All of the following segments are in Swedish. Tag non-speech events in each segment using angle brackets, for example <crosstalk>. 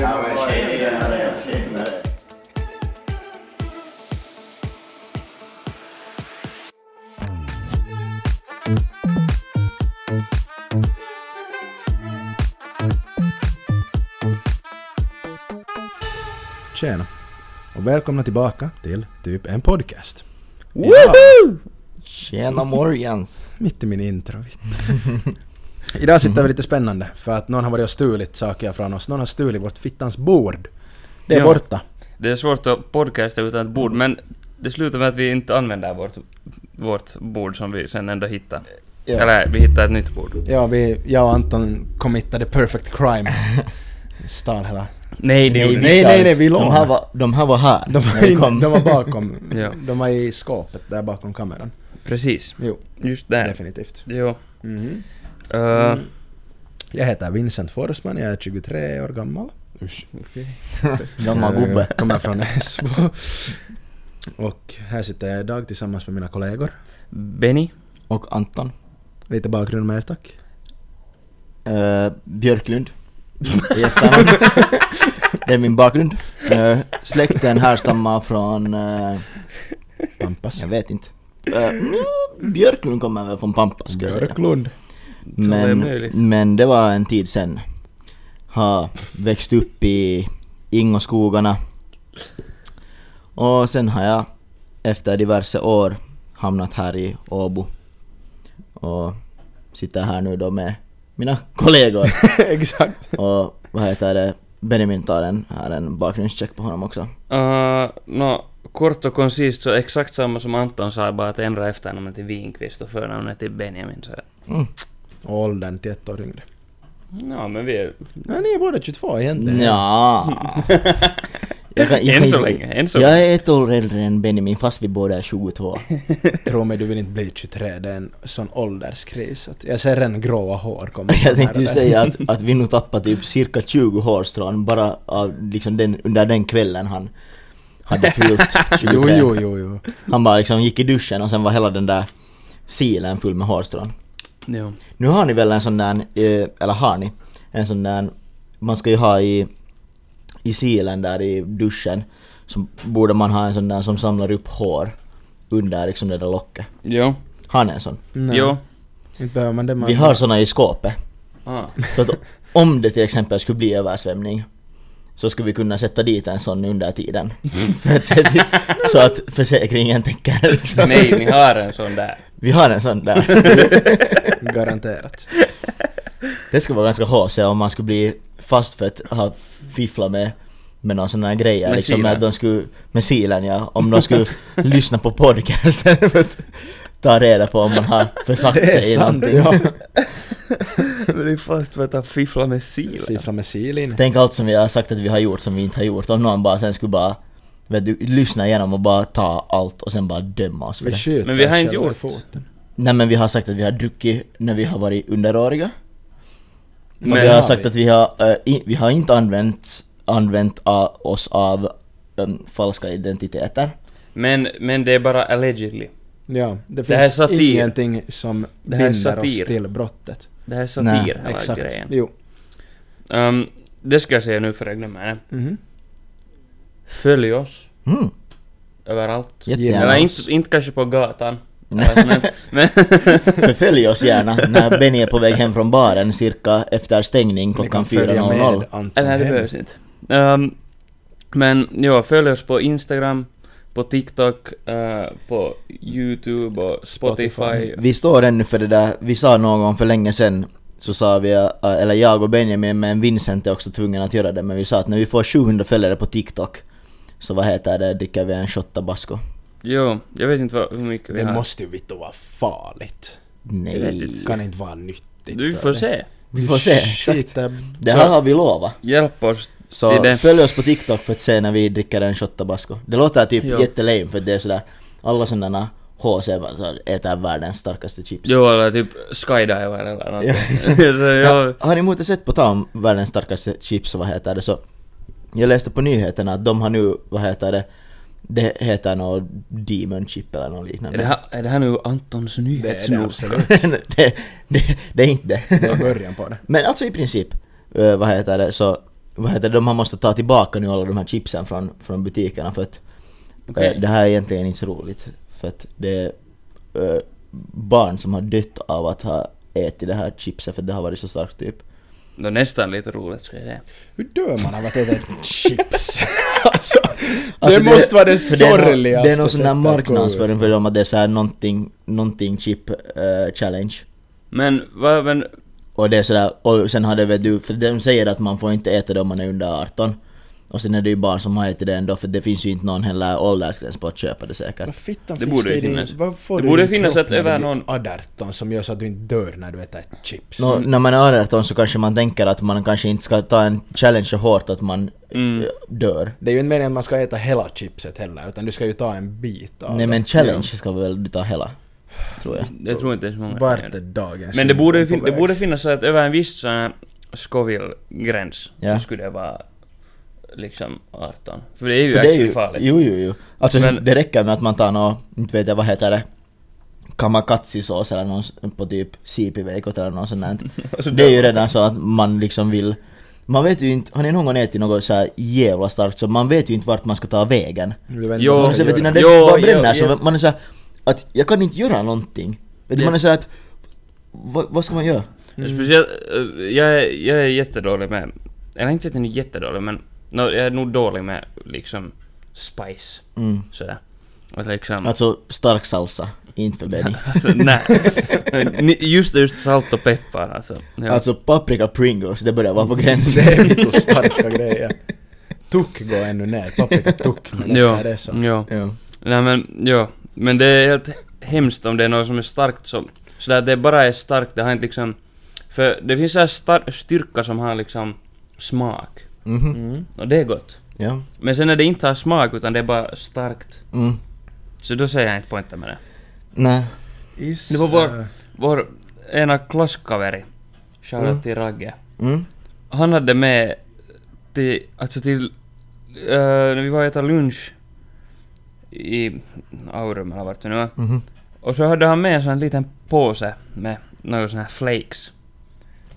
Ja, men tjenare, tjenare. Tjena. Och välkomna tillbaka till typ en podcast. Woho! Tjena morgens! Mitt i min intro. <laughs> vitt. Idag sitter vi lite spännande för att någon har varit och stulit saker från oss. Någon har stulit vårt fittans bord. Det är Ja. borta. Det är svårt att podcasta utan ett bord, men det slutar med att vi inte använder vårt, vårt bord som vi sen ändå hittar. Ja. Eller vi hittar ett nytt bord. Ja, vi, jag och Anton committade perfect crime. <laughs> Stal hela... Nej, det gjorde vi vi nej, ska- nej, nej, vi de lånar. här, var, de här var här De när var, vi in, kom. de var <laughs> bakom... Ja. De var i skåpet där bakom kameran. Precis. Jo, Just där. definitivt. Jo. Mhm. Eh, Jag heter Vincent Forsman, jag är 23 år gammal. Gammal Eh, gubbe. Kommer från Esbo. Och här sitter jag idag tillsammans med mina kollegor. Benny. Och Anton. Lite bakgrund med er, tack. Eh, Björklund. I efternamn. <laughs> Det är min bakgrund. Eh, släkten härstammar från... eh, Pampas. jag vet inte. Eh, Björklund kommer väl från Pampa skulle jag säga. <laughs> Björklund. Så det liksom- är Men, möjligt. men det var en tid sen. Har växt upp i Ingoskogarna. Och sen har jag efter diverse år hamnat här i Åbo. Och sitter här nu då med mina <laughs> kollegor. Exakt. Och vad heter det? Benjamin tar en, här en bakgrundscheck på honom också. Eh, Nå, kort och koncist så exakt samma som Anton sa, bara att ändra efternamnet till Winqvist och förnamnet till Benjamin. Så. Mm. Och åldern till ett år yngre. Ja, men vi är... Nej, ni är båda 22 <laughs> egentligen. Ja. Jag kan- jag Än kan så inte- länge, än så Jag är ett år äldre än Benjamin fast vi båda är 22. Tro mig, du vill inte bli 23. Det är en sån ålderskris. Att jag ser en gråa hår komma. <laughs> Jag tänkte ju säga att, <laughs> att vi nog tappade typ cirka 20 hårstrån bara av liksom den, under den kvällen han hade fyllt 23. <laughs> Jo, jo, jo, jo. Han bara liksom gick i duschen och sen var hela den där silen full med hårstrån. Jo. Nu har ni väl en sån där, eh, eller har ni, en sån där, man ska ju ha i, i silen där i duschen, så borde man ha en sån där som samlar upp hår under liksom det där locket. Jo. Har ni en sån? Nej, Jo. Inte behöver man det. Man Vi har såna i skåpet. Ah. Så att om det till exempel skulle bli översvämning så skulle vi kunna sätta dit en sån <laughs> under tiden. För att se till, så att försäkringen täcker det liksom. Nej, ni har en sån där. Vi har en sån där. <laughs> Garanterat. Det skulle vara ganska HC om man skulle bli fast för att ha fifflat med med någon sån här grejer Med liksom silen. att de skulle, med silen ja, om de skulle lyssna på podcasten för att ta reda på om man har försagt Det sig i är sant. någonting. <laughs> Ja. <laughs> Men det är fast för att han fifflar med silen. Fiffla med silin. Tänk allt som vi har sagt att vi har gjort som vi inte har gjort. Om någon bara sen skulle bara vet du, lyssna igenom och bara ta allt och sen bara döma oss för Vi det. skjuter Men vi har oss inte själva i gjort. foten. Nej men vi har sagt att vi har druckit när vi har varit underåriga. Och Men vi har har sagt vi. att vi har, eh, i, vi har inte använt, använt a, oss av em, falska identiteter. Men, men det är bara allegedly. Ja, det Det här är finns satir. ingenting som Det här är binder oss satir. till brottet. Det här är Nej, satir, hela Exakt. grejen. Jo. Ehm, det ska jag säga nu för jag glömmer det. Mm-hmm. Mhm. Följ oss Mm, överallt. jättegärna. Eller oss. inte, inte kanske på gatan. <laughs> Nej. Eller sånt. men, Förfölj oss gärna när Benny är på väg hem från baren cirka efter stängning Ni kan klockan följa med 4.00. Anton nej, det hem. behövs inte. Ehm, men ja, följ oss på Instagram, på TikTok, eh, på YouTube och Spotify. Spotify. Vi står ännu för det där, vi sa någon gång för länge sedan så sa vi, eh, eller jag och Benjamin men Vincent är också tvungen att göra det men vi sa att när vi får 700 följare på TikTok så vad heter det, dricker vi en shot tabasco? Jo, jag vet inte vad, hur mycket vi Det har. måste ju vittu vara farligt. Jag vet inte. Nej. Kan inte vara nyttigt du för får dig. se. Vi får se, <laughs> Shit, exakt. det- Det Så- här har vi lovat. Hjälp oss. Det Så är det. följ oss på TikTok för att se när vi dricker en shot tabasco. Det låter typ Ja. jättelame för det är sådär, alla sådana HC bara så här, äter världens starkaste chips. Jo, eller typ skydiver eller något. Ja. <laughs> så, <laughs> ja. Har ni inte sett på tal om världens starkaste chips och vad heter det så? Jag läste på nyheterna att de har nu, vad heter det, Det heter något Demon Chip eller något liknande. Är det, här, är det här nu Antons Det är det nyhetsnos? absolut. <laughs> det, det, det är inte Det var det. början på det. <laughs> Men alltså i princip, eh, vad heter det, så vad heter det, de har måste ta tillbaka nu alla de här chipsen från, från butikerna för att eh, Okej. det här är egentligen inte så roligt. För att det är eh, barn som har dött av att ha ätit det här chipset för att det har varit så starkt typ. Det är nästan lite roligt ska jag säga. Hur dör man av att äta <laughs> chips? alltså, Alltså, det måste vara det för är nå- sorgligaste Det är någon sån där sättet att gå ut. marknadsföring för dem att det är såhär någonting, någonting chip eh, challenge. Men vad, men Och det är sådär, och sen hade vet du, för de säger att man får inte äta det om man är under 18. Och sen är det ju barn som har ätit det ändå för det finns ju inte någon heller åldersgräns på att köpa det säkert. Vad fittan Det finns borde ju i din- finnas. vad får Det du i borde din finnas kropp ett när du över blir någon- 18 som gör så att du inte dör när du äter chips. Nå, när man är 18 så kanske man tänker att man kanske inte ska ta en challenge så hårt att man Mm. eh, dör. Det är ju inte meningen att man ska äta hela chipset heller, utan du ska ju ta en bit av Nej det. men challenge ska väl du ta hela? Tror jag. jag tror inte ens många Vart är dagens Men det borde, ju på fin- det väg? borde finnas så att över en viss sån här Scoville-gräns Ja. så skulle det vara liksom 18. För det är ju För det är actually ju, farligt. jo, jo, jo. Alltså Men- det räcker med att man tar någon, inte vet jag vad heter det, kamakatsisås eller någon s- på typ siipiveikot eller något sånt <laughs> Alltså, där. Det är ju redan så att man liksom vill, man vet ju inte, har ni någon gång ätit något så här jävla starkt så man vet ju inte vart man ska ta vägen. Du vet inte Jo, vad Och man så ska vet du göra. när det Jo, bara bränner jo, jo. så man är så här, att jag kan inte göra någonting. Vet du, Ja. man är så här att, vad, vad ska man göra? Speciellt, eh, jag, är- jag är jättedålig med, eller inte att jag är jättedålig men, nå, jag är nog dålig med liksom spice. Mm. Sådär. Och liksom, Alltså stark salsa, inte för Benny. <laughs> alltså <laughs> nej. Ni- just just salt och peppar alltså. Ja. Alltså paprika pringles, det börjar vara på <laughs> gränsen. Det är <laughs> vittu starka grejer. Tuck går ännu ner, paprika tuck. men jo, nästa är det så. jo. Ja. Nej men, jo. Men det är helt hemskt om det är något som är starkt som... Sådär det bara är starkt, det har inte liksom... För det finns såhär star- styrka som har liksom smak. Mhm. Mm. Och det är gott. Ja. Men sen när det inte har smak utan det är bara starkt. Mm. Så då säger jag inte poängen med det. Nej. Is, Det var bara- äh, Vår ena klasskaveri, shoutout till Ragge. Mm. Han hade med till, alltså till, eh, när vi var och äta lunch i Aurum eller vart det nu var. Mhm. Och så hade han med en sån här liten påse med några såna här flakes.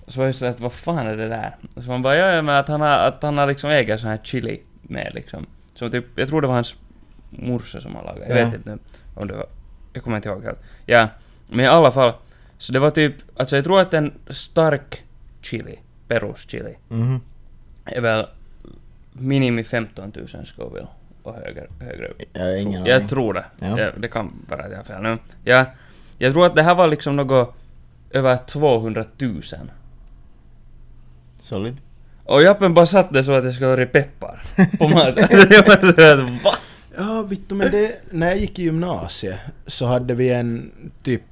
Så var jag såhär att vad fan är det där? Och så man bara, ja, ja men att han har, att han har liksom egen sån här chili med liksom. Så typ, jag tror det var hans morsa som har lagat, jag Ja. vet inte om det var, jag kommer inte ihåg helt. Ja, men i alla fall. Så det var typ, alltså jag tror att en stark chili, peruschili, Mhm. är väl minimi 15 000 Scoville och högre, högre upp. Jag har ingen Jag aning. tror det. Ja. Ja, det kan vara att jag har fel nu. Ja, jag tror att det här var liksom något över 200 000. Solid. Och Jappen bara satt det så att jag skulle ha peppar på maten. Alltså, jag var så att va? Ja, vittu men det... När jag gick i gymnasiet så hade vi en typ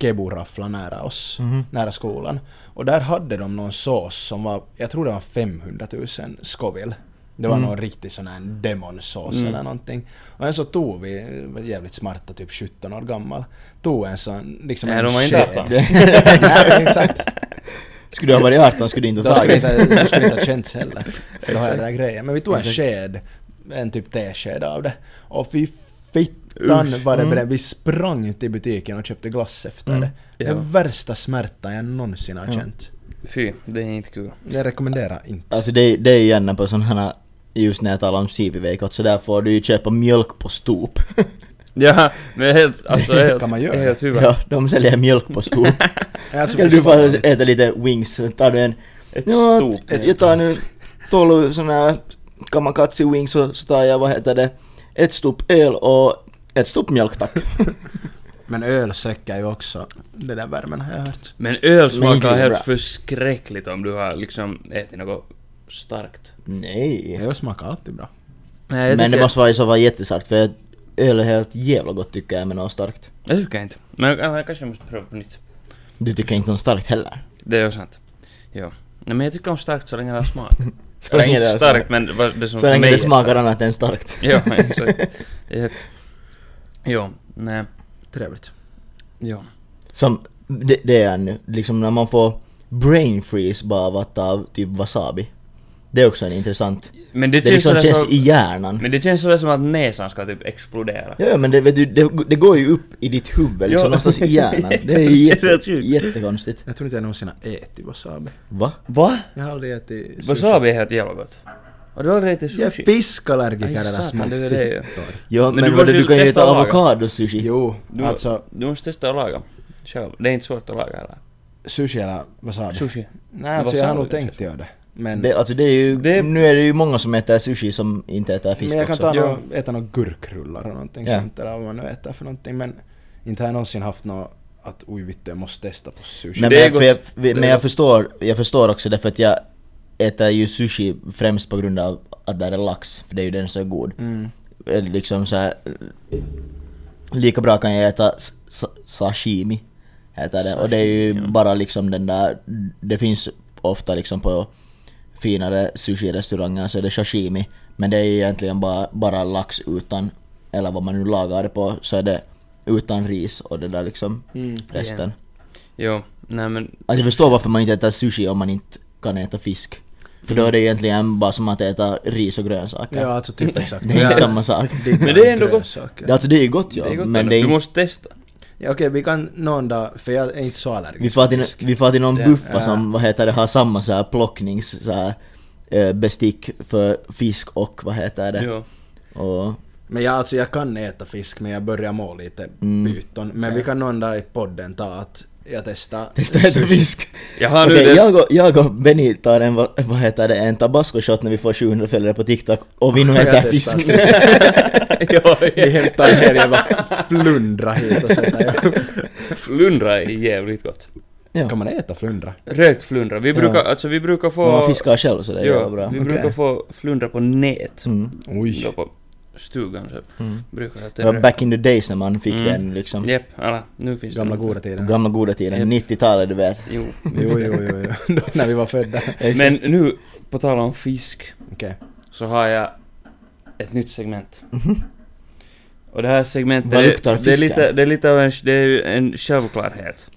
keburaffla nära oss, Mhm. nära skolan. Och där hade de någon sås som var, jag tror det var 500 000 Scoville. Det var Mm. någon riktig sån här demonsås Mm. eller någonting. Och sen så tog vi, var jävligt smarta, typ 17 år gammal, tog en sån liksom Nej, en de var inte 18. <laughs> Nej, exakt. Skulle du ha varit 18 skulle du <laughs> inte Då ha skulle tagit. det inte, då skulle det inte ha <laughs> känts heller. För då har jag den här grejen. Men vi tog en Exakt. sked, en typ tesked av det. Och fy fittan vad det Mm. brände. Vi sprang till butiken och köpte glass efter Mm. det. Ja. Den värsta smärtan jag någonsin har Ja. känt. Fy, det är inte kul. Det rekommenderar jag inte. Alltså det, är- det är ju gärna på sån här just när jag talar om sipiveikot så där får du ju köpa mjölk på stop. Ja, men helt, alltså helt, Kan man göra helt huvud. ja, de säljer mjölk på stop. Jag är alltså Ska du bara försvarligt. äta lite wings så tar du en... Ett Ja, stort. ett- jag tar nu 12 såna här kamakatsi wings och så tar jag vad heter det? Ett stop öl och ett stop mjölk tack. Men öl släcker ju också den där värmen har jag hört. Men öl Men smakar det är helt bra. förskräckligt om du har liksom ätit något starkt. Nej. Öl smakar alltid bra. Nej, jag Men det tycker- måste vara i så fall jättestarkt för öl är helt jävla gott tycker jag med något starkt. Jag tycker inte. Men jag, jag kanske måste prova på nytt. Du tycker inte om starkt heller? Det är ju sant. Ja. Nej men jag tycker om starkt så länge det har <laughs> smak. Eller inte det är starkt men vad- det som Så för länge mig är det smakar starkt. annat än starkt. Jo, exakt. Japp. Jo, nej, Trevligt. jo. <laughs> Som, det, det är nu, liksom när man får brain freeze bara av att ta typ wasabi. Det är också en intressant... Men Det, det, känns, liksom sådär känns som, i hjärnan. Men det känns sådär som att näsan ska typ explodera. Ja, ja, men det, vet du, det, det går ju upp i ditt huvud, liksom Ja. någonstans <laughs> i hjärnan. Det är ju Det känns helt jätte, sjukt. jättekonstigt. Jag tror inte jag någonsin har ätit wasabi. Va? Va? Jag har aldrig ätit sushi. Wasabi är helt jävla gott. Och du har aldrig ätit Jag är sushi? fiskallergiker Aj, era satan, små det är det ju. fittor. Ja, Men men, du du, måste du ju kan ju testa äta att laga. avokadosushi. Jo, Du, alltså du måste testa att laga. Själv. Det är inte svårt att laga heller. sushi eller wasabi. Sushi. Nej, alltså jag har Wasabi, nog tänkt göra det. Men, Det, alltså det är ju, Det- Nu är det ju många som äter sushi som inte äter fisk men jag kan också. ta Jo. någon, äta några gurkrullar och någonting Ja. sånt eller vad man nu äter för någonting. Men inte har jag någonsin haft något att oj vittu jag måste testa på sushi. Nej, Det är men, för jag, gott. Det är men jag gott. förstår, jag förstår också därför att jag äter ju sushi främst på grund av att där är lax, för det är ju den som är god. Mm. Eller liksom så här, Lika bra kan jag äta s- sa- sashimi. Heter det. Och det är ju Sashimi, ja. bara liksom den där, det finns ofta liksom på finare sushi-restauranger så är det sashimi. Men det är ju egentligen bara, bara lax utan, eller vad man nu lagar det på, så är det utan ris och det där liksom Mm. resten. Yeah. Jo, nej men... Alltså jag förstår varför man inte äter sushi om man inte kan äta fisk. För Mm. då är det egentligen bara som att äta ris och grönsaker. Ja, alltså typ exakt. Det är Ja. inte samma sak. Men det är ändå gott. Grönsaker. Alltså det är ju gott Det ja, är gott men ändå. det är Du inte måste testa. Ja, okej, vi kan någon dag, för jag är inte så allergisk Vi får till, fisk. vi får till någon Det- buffa ja. som, vad heter det, har samma så här plocknings så här, eh, bestick för fisk och vad heter det? <laughs> Jo. Och, Men jag, alltså, jag kan äta fisk, men jag börjar må lite Mm. byton. Men vi kan någon dag i podden ta att jag testar testa <laughs> äta fisk. Jag har nu Okej, det... jag, och, jag och Benny tar en, vad, vad heter det, en tabasco shot när vi får 700 följare på TikTok och vi nu Jag äter testar fisk. <laughs> sushi. Vi hämtar en hel jävla flundra hit och sätter <laughs> upp. Flundra är jävligt gott. ja. Kan man äta flundra? Rökt flundra. Vi Ja. brukar, alltså vi brukar få... Om man fiskar själv så det är ja, jävla bra. vi Okej. brukar få flundra på nät. Mm. Då Oj. på stugan så Mm. brukar jag Det var rökt. back in the days när man fick Mm. den liksom. Japp, alla. Nu finns Gamla det. goda tiden. Gamla goda tiden, 90-talet du vet. Jo. Jo, jo, jo, jo. <laughs> Då när vi var födda. <laughs> Men nu, på tal om fisk, Okej. så har jag ett nytt segment. Och det här segmentet, Mhm. Vad det- luktar det, är fisken? lite, det är lite av en, det är ju en självklarhet.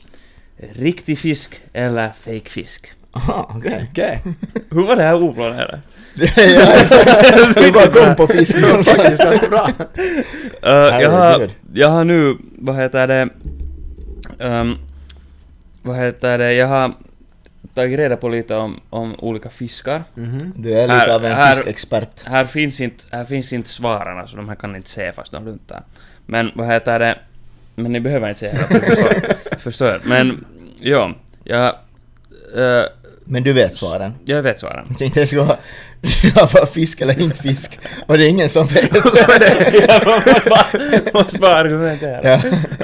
Riktig fisk eller fake fisk? Aha, okej. Okej. Hur var det här oplanerat? <laughs> Ja, exakt. Du bara kom på fisk. Det var faktiskt ganska bra. Eh, jag, har, Herregud. jag har nu, vad heter det, ehm, vad heter det, jag har tagit reda på lite om, om olika fiskar. Mhm. Du är Här- lite av en här- fiskexpert. Här finns inte, här finns inte svaren, alltså de här kan ni inte se fast de lutar. Men vad heter det, men ni behöver inte se här, för jag <laughs> förstår, förstår. Men ja, jag, eh, Men du vet svaren. jag vet <laughs> svaren. <laughs> Jag tänkte det skulle vara jag var fisk eller inte fisk. Och det är ingen <laughs> som vet. jag måste bara- måste bara argumentera. Ja.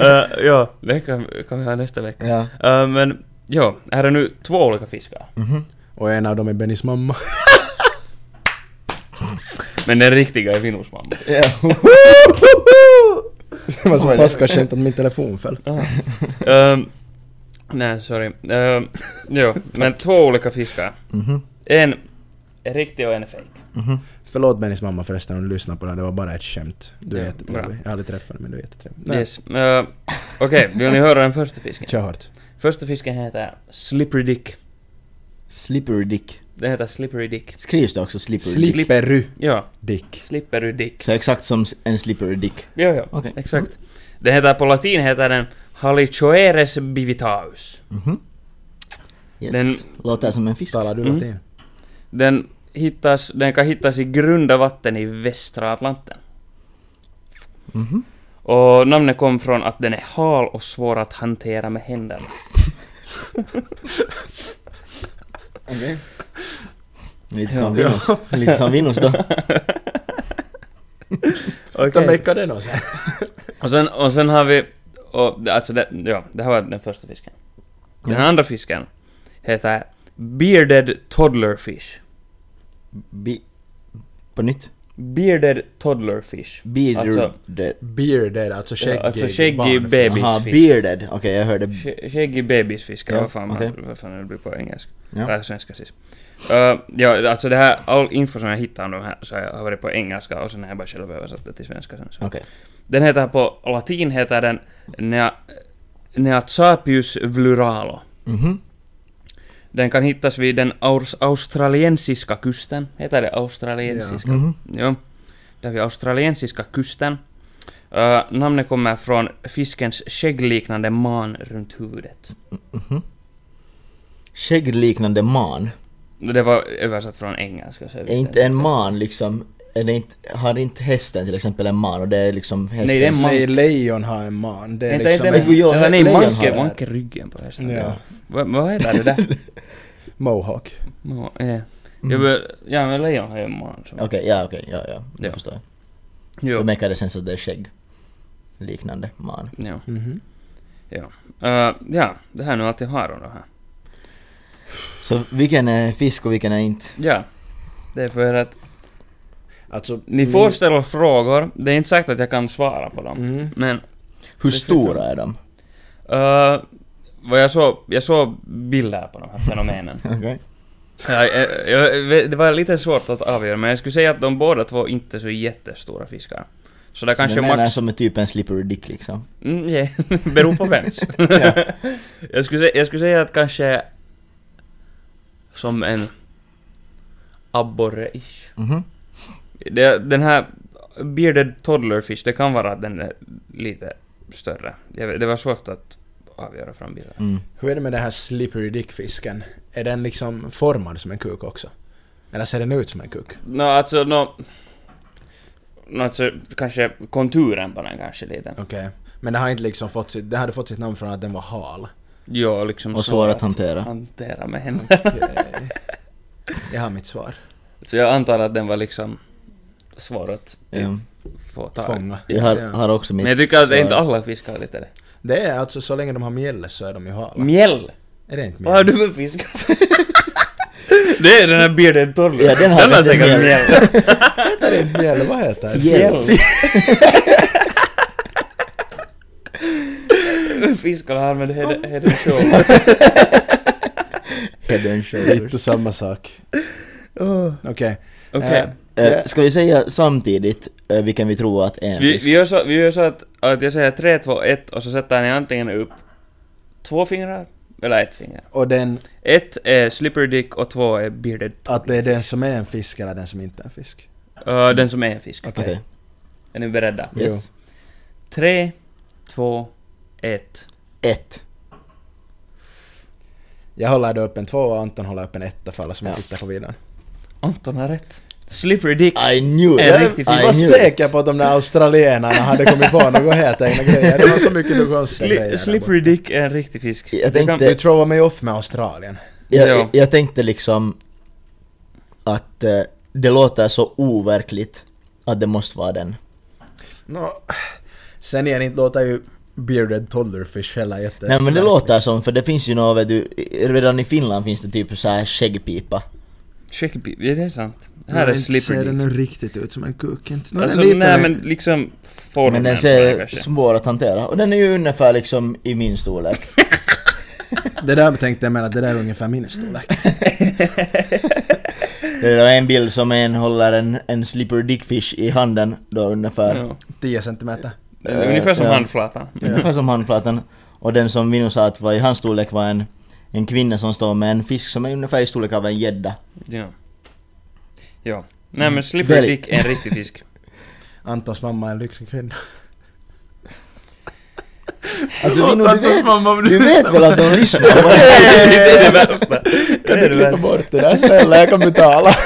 Eh, ja, det kan, kan vi ha nästa vecka. Ja. Eh, men ja, här är nu två olika fiskar. Och en av dem är Bennys mamma. Men den riktiga är Vinus mamma. Ja. <laughs> <laughs> Det var så pass kanske inte att min telefon föll. Ah. Ehm, nej, sorry. Um, jo, men två olika fiskar. Mhm. En är riktig och en är fake. Mhm. Förlåt Bennys mamma förresten om du lyssnar på det här, det var bara ett skämt. Du är Ja, jättetrevlig. bra. Jag har aldrig träffat dig men du är jättetrevlig. Nej. Yes. ehm, Okej, vill ni höra den första fisken? Kör hårt. Första fisken heter Slippery Dick. Slippery dick. Den heter Slippery Dick. Skrivs det också slippery dick? Slippery Ja, dick. Slippery Dick. Så exakt som en slippery dick. Jo, jo, Okej. exakt. Den heter på latin heter den Halichoeres bivitaus. Mhm. Yes. Den- Låter som en fisk. Talar du Mm. latin? Den, hittas, den kan hittas i grunda vatten i västra Atlanten. Mhm. Och namnet kom från att den är hal och svår att hantera med händerna. Lite som Venus. Lite som Venus då. Fitta mecka den och sen. Och sen, och sen har vi... Och, det- alltså det, ja, det här var den första fisken. Den Ja. andra fisken heter Bearded Toddlerfish. Bi- på nytt. Bearded Toddlerfish. Bearded. Alltså- Bearded, alltså skäggig. alltså skäggig barnfisk. baby. Aha, Bebisfisk. bearded. Okej, jag hörde. Sk- Skäggig bebisfiskar, Ja, vad fan okej. man, vad fan det blir på engelska. Ja. Eller svenska sist. Uh, ja, alltså det här, all info som jag hittar om de här så har jag har varit på engelska och sen har jag bara själv översatt det till svenska sen. Så. Okej. Den heter på latin heter den Nea, Neatsapius vluralo. Mhm. Den kan hittas vid den aus- australiensiska kusten. Heter det australiensiska? Mhm. Jo. Där vid australiensiska kusten. Ö, namnet kommer från fiskens skäggliknande man runt huvudet. Skäggliknande man. Det var översatt från engelska. Så jag Är visste inte en man liksom... Är det inte, har inte hästen till exempel en man och det är liksom hästen? Nej, det är en man. Nej, lejon har en man. Det är Inte- liksom... inte- Men gud, jag- eller nej, lejon manke, har- manke ryggen på hästen. Ja. Va- vad heter det där? Mohawk. Må- eh. Jag bör- Ja, men lejon har ju en man. som- Mm. Okej, ja okej, ja ja. Ja. Jag förstår. Jo. Då märker det sen så att det är skägg. Liknande man. Ja. Mhm. Ja. Eh, ja, det här är nu allt jag har om det här. Så vilken är fisk och vilken är inte? Ja. Det är för att Alltså... ni får ställa frågor. Det är inte sagt att jag kan svara på dem. Mm. Men Hur Det är stora är de? eh, vad jag såg, jag såg bilder på de här fenomenen. <laughs> Okej. <laughs> Ja, jag, jag, det var lite svårt att avgöra, men jag skulle säga att de båda två inte är så jättestora fiskar. Så det kanske den ena max... som är typ en slippery dick liksom. Mm, yeah. <laughs> Beror på vems. <laughs> Ja. jag, skulle säga, jag skulle säga att kanske... Som en... Abborre-ish. Mhm. Det, den här bearded toddlerfish, det kan vara att den är lite större. Jag vet- Det var svårt att avgöra från bilden. Mm. Hur är det med den här slippery dick-fisken? Är den liksom formad som en kuk också? Eller ser den ut som en kuk? Nå, alltså, nå... nå alltså, kanske konturen på den kanske lite. Okej. Men den har inte liksom fått sitt... Den hade fått sitt namn från att den var hal. Ja, liksom Och så svår att hantera. Hantera med henne. <laughs> Okej. Jag har mitt svar. Så jag antar att den var liksom svår att typ, Ja. få tag i. Fånga. Jag har, Ja. har också mitt Men jag tycker att svar. inte alla fiskar har lite det. Det är alltså så länge de har mjälle så är de ju hala. Mjäll! Är det inte Vad har mjälle? du för fiskar? <laughs> det är den här bearded toddler. Ja, den har den har kanske säkert mjäll. mjäll. Heter det inte mjälle? Vad heter det? Fjäll. <laughs> Fiskarna använder head, head and shoulder. Head and Det är shoulders. inte samma sak. Oh. Okej. Okej. Eh, Eh, Ska vi säga samtidigt eh, vilken vi tror att är en Vi, fisk? vi, gör så, vi gör så att, att jag säger 3, 2, 1 och så sätter ni antingen upp två fingrar eller ett finger. och den... Ett är slippery dick och två är bearded. Att det är den som är en fisk eller den som inte är en fisk. Ö, Äh, den som är en fisk. Okej. Okej, Är ni beredda? Jo. yes. 3, 2, 1. Ett. Jag håller då upp en tvåa och Anton håller upp en etta för alla som Ja. tittar på videon. Anton har rätt. Slippery dick. I knew it! En riktig I fisk. Jag var knew it. säker på att de där australienarna hade kommit på något helt egna grejer. Det var så mycket du konstiga grejer. där Sli, slippery dick är en riktig fisk. Jag Det kan- borta. Du tänkte, throwar mig off med Australien. jag, Ja. jag tänkte liksom att eh, det låter så overkligt att det måste vara den. Nå, Sen igen, inte låter ju bearded toddlerfish heller jätte... Nej men det låter som, för det finns ju något, vet du, redan i Finland finns det typ så här skäggpipa. Checkby, är det sant? Här är slippery dick. nu riktigt ut som en kuk inte. Nå, Alltså den är lite nej längre. men liksom formen Men den på den ser kanske. svår att hantera. Och den är ju ungefär liksom i <laughs> min storlek. Det där tänkte jag med att det där är ungefär min storlek. <laughs> Det är en bild som en håller en, en slipper dickfish i handen då ungefär. Ja. 10 centimeter. Eh, Ungefär som ja. handflatan. Ungefär som handflatan. Och den som Vino sa att var i hans storlek var en, en kvinna som står med en fisk som är ungefär i storlek av en gädda. Ja. Ja. Nej men slippery Välj. dick är en riktig fisk. Antons mamma är en lycklig kvinna. Alltså Förlåt, Vino, du Antons vet, mamma, men du vet väl att de lyssnar? <laughs> på det det? är det värsta. Det Kan är du det klippa värsta. bort det där snälla? Jag kan betala.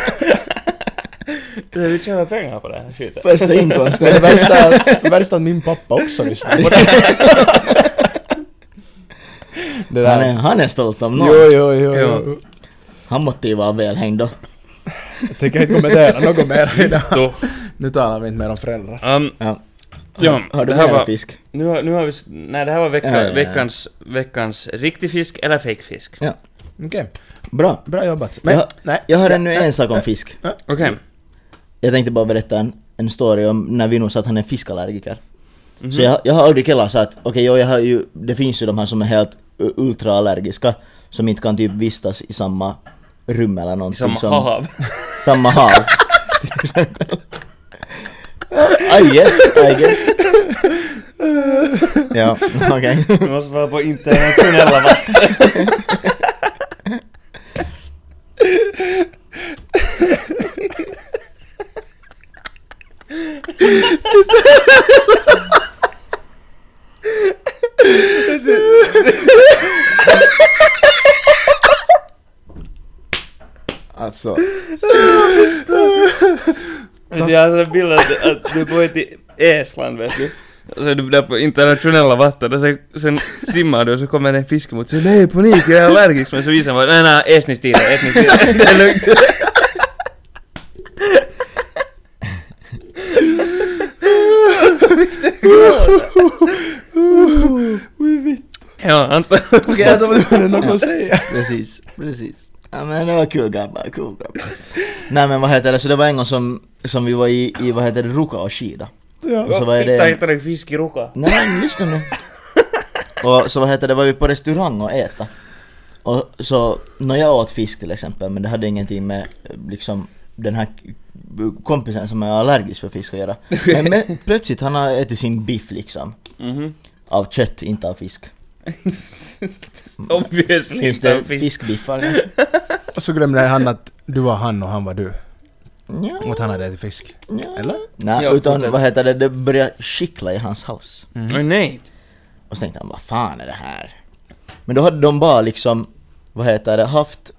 Du vill tjäna pengar på det här skiten. Första inkomsten. Det värsta <laughs> är värsta att min pappa också lyssnar på det. Det Han är, där. han är stolt om någon. Jo, jo, jo, jo. Han måste ju vara välhängd då. Jag tänker inte kommentera något mer idag. Då. Nu talar vi inte mer om föräldrar. Um, Ja. ja, Har du det här mera var, fisk? nu, har, nu har vi... s- Nej, det här var vecka, Ja, ja, ja. veckans, veckans riktig fisk eller fake fisk. Ja. Okej, Bra. bra jobbat. Men, Jag, nej. <laughs> jag har ännu en sak om fisk. Okej. Mm. Jag tänkte bara berätta en, en story om när Vino sa att han är fiskallergiker. Mhm. Så jag, jag har aldrig heller sagt, okej jo, jag har ju, det finns ju de här som är helt eh, ultraallergiska som inte kan typ vistas i samma rum eller I någonting. samma som, hav. <laughs> Samma hav. till exempel. <laughs> I guess, I guess. ja, okej. <laughs> Du måste vara på internationella vatten. Alltså, Vet du, Jag har en bild att, att du på till Estland vet du. Och så är du där på internationella vatten och sen, sen simmar du och så kommer en fisk emot och säger nej panik jag är allergisk men så visar man nej nej estnisk tiger, estnisk tiger. <laughs> Det är lugnt. Ja Anton. Okej, jag tror det är något att säga. precis, precis. Ja men det var kul grabbar, kul grabbar. Nej men vad heter det, så det var en gång som, som vi var i, i vad heter det, Ruka och skida. Och så var det- Titta hittar en fisk i ruka. Nej men lyssna nu. Och så vad heter det, var vi på restaurang och äta. Och så, när jag åt fisk till exempel, men det hade ingenting med eh, liksom den här k- kompisen som är allergisk för fisk att göra. Men, men plötsligt han har ätit sin biff liksom. Mhm. Av kött, inte av fisk. Obviously Finns inte det en fisk. <laughs> fiskbiffar kanske? Och så glömde han att du var han och han var du. Och Ja, att han hade ätit fisk. ja. Eller? Nej, Ja, utan fortsätt. vad heter det, det började kittla i hans hals. Oj, nej. Och så tänkte han, vad fan är det här? Men då hade de bara liksom, vad heter det, haft,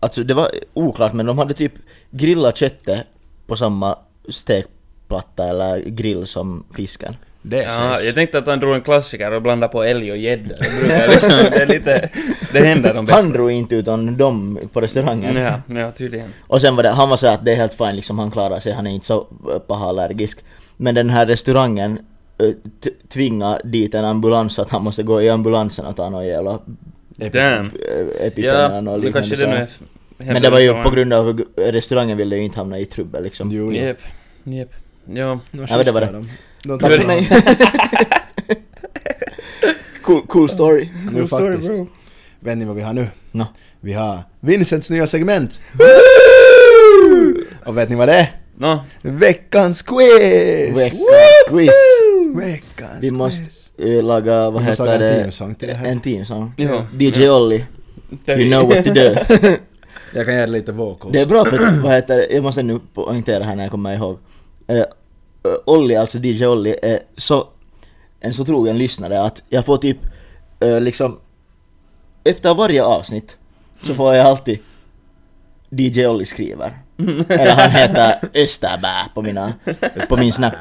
alltså det var oklart men de hade typ grillat köttet på samma stekplatta eller grill som fisken. Det är Ja, sens. jag tänkte att han drog en klassiker och blandade på älg och gädda. <laughs> Det brukar liksom, det är lite... Det händer de bästa. Han drog inte utan de på restaurangen. Ja, ja tydligen. Och sen var det, han var så här att det är helt fine liksom, han klarar sig, han är inte så eh, paha allergisk. Men den här restaurangen eh, t- tvingar dit en ambulans så att han måste gå i ambulansen och ta någon jävla Damn. eh, Mm. Ja, Epipen och det kanske liknande. det så nu här. är... Men det var ju på grund av restaurangen ville ju inte hamna i trubbel liksom. Jo, jo. Jep, jep. Ja. Nå, Ja, men det var schysst det. är De, de Tack tar <laughs> för mig. hand cool, cool story. om- Nu faktiskt. Vet ni vad vi har nu? Nå. Vi har Vincents nya segment! och vet ni vad det är? Nå, Veckans quiz! Veckans quiz. Veckans Vi quiz! måste eh, laga, vad Vi måste laga heter en det? teamsång till det här. En teamsång. Ja. DJ Olli, där- you know what <laughs> to do. Jag kan göra lite vocals. det är bra för, att- vad heter det? jag måste nu poängtera här när jag kommer ihåg. Eh, eh, Olli, alltså DJ Olli, är så, en så trogen lyssnare att jag får typ, eh, liksom, efter varje avsnitt så får jag alltid DJ Olli skriver. Mm. Eller han heter Österbä på, mina, på min snap.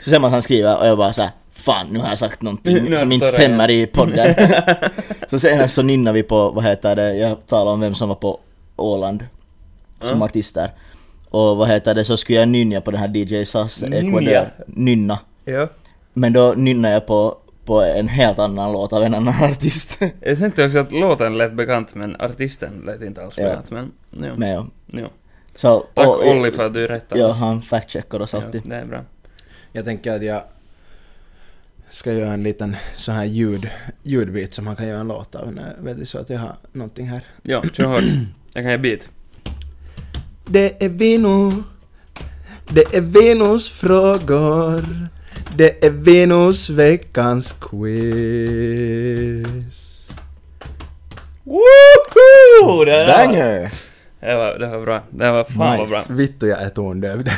Så ser man att han skriver och jag bara såhär Fan nu har jag sagt Nu någonting har jag som inte tagit stämmer i podden. så senast så nynnar vi på, vad heter det, jag talade om vem som var på Åland som Ja. artist där. Och vad heter det, så skulle jag nynna på den här DJ Sass eh, Nynja. Ecuador. Nynna. Ja. Men då nynnar jag på, på en helt annan låt av en annan <laughs> artist. Jag tänkte också att låten lät bekant men artisten lät inte alls Ja. bekant men... Jo. Men ja. jo. Så, Tack och- Olli för att du rättade Ja, oss. han fact-checkar oss alltid. Ja, det är bra. Jag tänker att jag ska göra en liten sån här ljud, ljudbit som man kan göra en låt av. Nej, Vet du, så att jag har någonting här. Ja, kör hårt. <clears throat> Jag kan ge beat. Det är Vino. Det är Vinos frågor. Det är Vinos veckans quiz. Woho! Det där var- Banger! Det var, det var bra. Det var fan Nice. vad bra. Vittu jag är tondövd.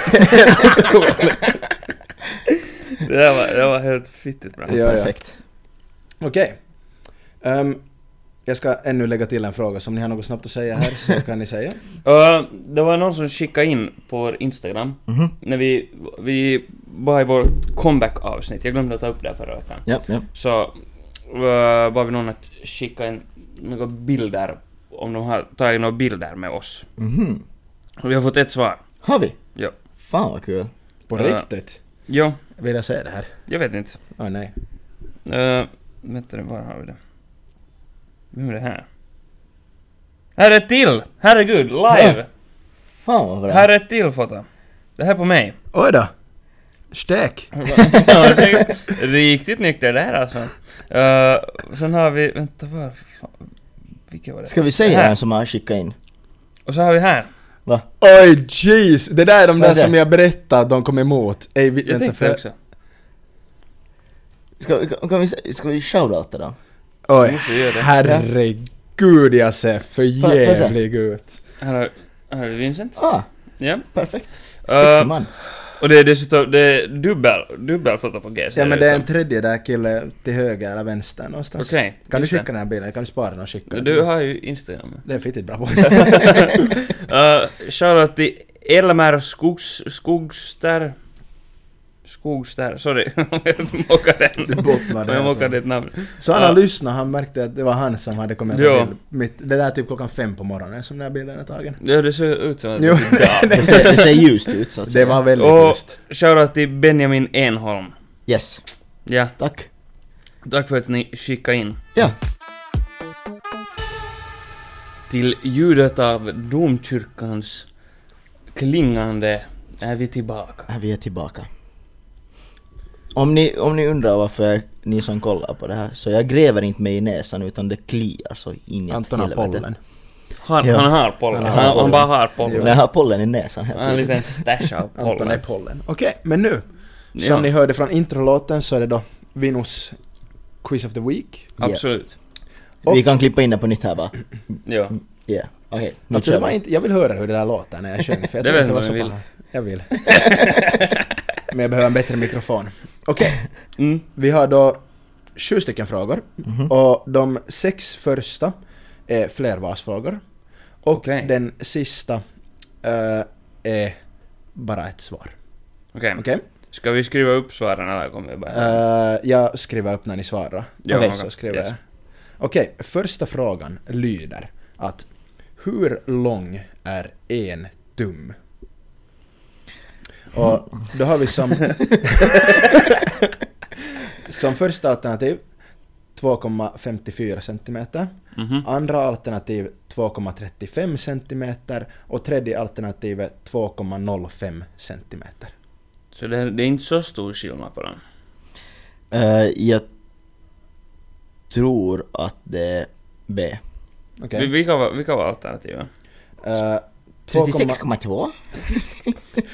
Det där var, det var helt fittigt bra. Ja, ja. Perfekt. <laughs> Okej. Ehm, jag ska ännu lägga till en fråga, så om ni har något snabbt att säga här så kan ni säga. Uh, det var någon som skickade in på vår Instagram, Mhm. när vi, vi var i vårt comeback-avsnitt, jag glömde att ta upp det här förra veckan. Ja, ja. Så uh, bad vi någon att skicka in några bilder, om de har tagit några bilder med oss. Mhm. Och vi har fått ett svar. Har vi? Ja. Fan vad kul. På Ja. riktigt? Jo, Vill jag säga det här? jag vet inte. Åh nej. Uh, vänta nu, var har vi det? Vem är det här? Här är ett till! Herregud, live! Fan vad bra. Här är ett till foto. Det här är på <laughs> mig. Oj då! Stek! Ja, det är Riktigt nykter där alltså. Uh, sen har vi, vänta var fan, vilka var det? Ska vi säga Här. den som har skickat in? Och så har vi här. Va? Oj jeez! Det där är de Vad där är det? som jag berättade att de kom emot. Ej, vi, Jag tänkte för- också. Ska, kan kan vi, sä- ska vi shoutouta då? Oj, Måste göra det. herregud jag ser för Får- får jag se? jävlig ut. Här har, här har vi Vincent. Ah, Ja. perfekt. Eh, Sexig man. Och det är dessutom, det är dubbel, dubbelfoto på G. ser Ja men ut det är en som. tredje där kille till höger eller vänster någonstans. Okej, Kan du just det. skicka den här bilden? Kan du spara den och skicka den? Du har ju Instagram. Det är fittigt bra på. Uh, shoutout till Elmer Skogs, Skogster. Skogster, sorry. <laughs> jag mockade Du bottnade. Jag mockade ett namn. <laughs> Så alla Ja. lyssnade, han märkte att det var han som hade kommit Jo. att bild. Mitt, det där är typ klockan fem på morgonen som den här bilden är tagen. Ja, det ser ut som att Jo. <laughs> det är Det ser, det <laughs> ser ljust ut så att Det säga. var väldigt Och just. shoutout till Benjamin Enholm. Yes, Ja, tack. tack för att ni skickade in. Ja, Till ljudet av domkyrkans klingande är vi tillbaka. här Äh, vi är tillbaka. Om ni, om ni undrar varför ni som kollar på det här, så jag gräver inte mig i näsan utan det kliar så in i Anton har pollen. Han, Ja. han har pollen. Han Han, har han, pollen. bara har När pollen. jag har pollen i näsan Han har en helt liten stash av Anton är pollen. pollen. Okej, men nu. Som Ja. ni hörde från introlåten så är det då Vinos Quiz of the Week. Absolut. Vi kan klippa in det på nytt här va? Ja. Ja, okej. nu Alltså, kör det var vi. inte, jag vill höra hur det där låter när jag sjöng, för jag Det tror vet inte det var man så vill. bra. Jag vill. <laughs> Men jag behöver en bättre mikrofon. Okej, Mm. vi har då sju stycken frågor. Och de sex första är flervalsfrågor. Och Okej. den sista eh, är bara ett svar. Okej. Okej? Ska vi skriva upp svaren eller kommer vi bara... Eh, jag skriver upp när ni svarar. Ja, Okej, okej. så skriver Yes. jag. Okej, första frågan lyder att hur lång är en tum? Och då har <laughs> vi som... som första alternativ 2,54 centimeter. Mhm. Andra alternativ 2,35 centimeter. Och tredje alternativet 2,05 centimeter. Så det, det är inte så stor skillnad på dem. Eh, jag tror att det är B. Okej. Vi, vilka, var, vilka var alternativen? Eh, 2,- 36,2?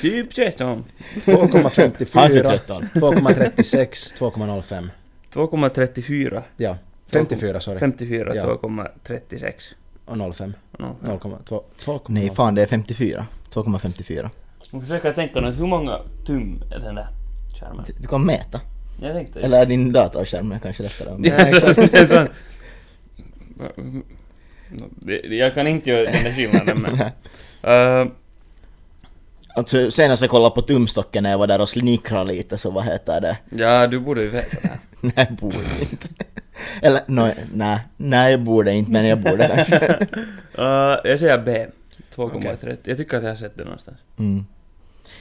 Typ 13. 2,54, tretton. 2,36, 2,05. 2,34. Ja. 54 sorry. 54, Ja. 2,36. Och 05. No. 0,2. 2,0. Nej fan det är 54. 2,54. Jag försöker tänka nu, hur många tum är den där skärmen? Du kan mäta. Jag tänkte Eller är din datorskärm är kanske lättare. att mäta. Ja, exakt. det, det är sant. Nå, det- det- Jag kan inte göra den där skillnaden <laughs> men... Eh, Alltså, senast jag kollade på tumstocken när jag var där och snickrade lite så vad heter det? ja, du borde ju veta det här. Nej, jag borde inte. <laughs> Eller no, nej, nej jag borde inte men jag borde <laughs> kanske. Eh, jag säger B. 2,30. Jag tycker att jag har sett det någonstans. Mm.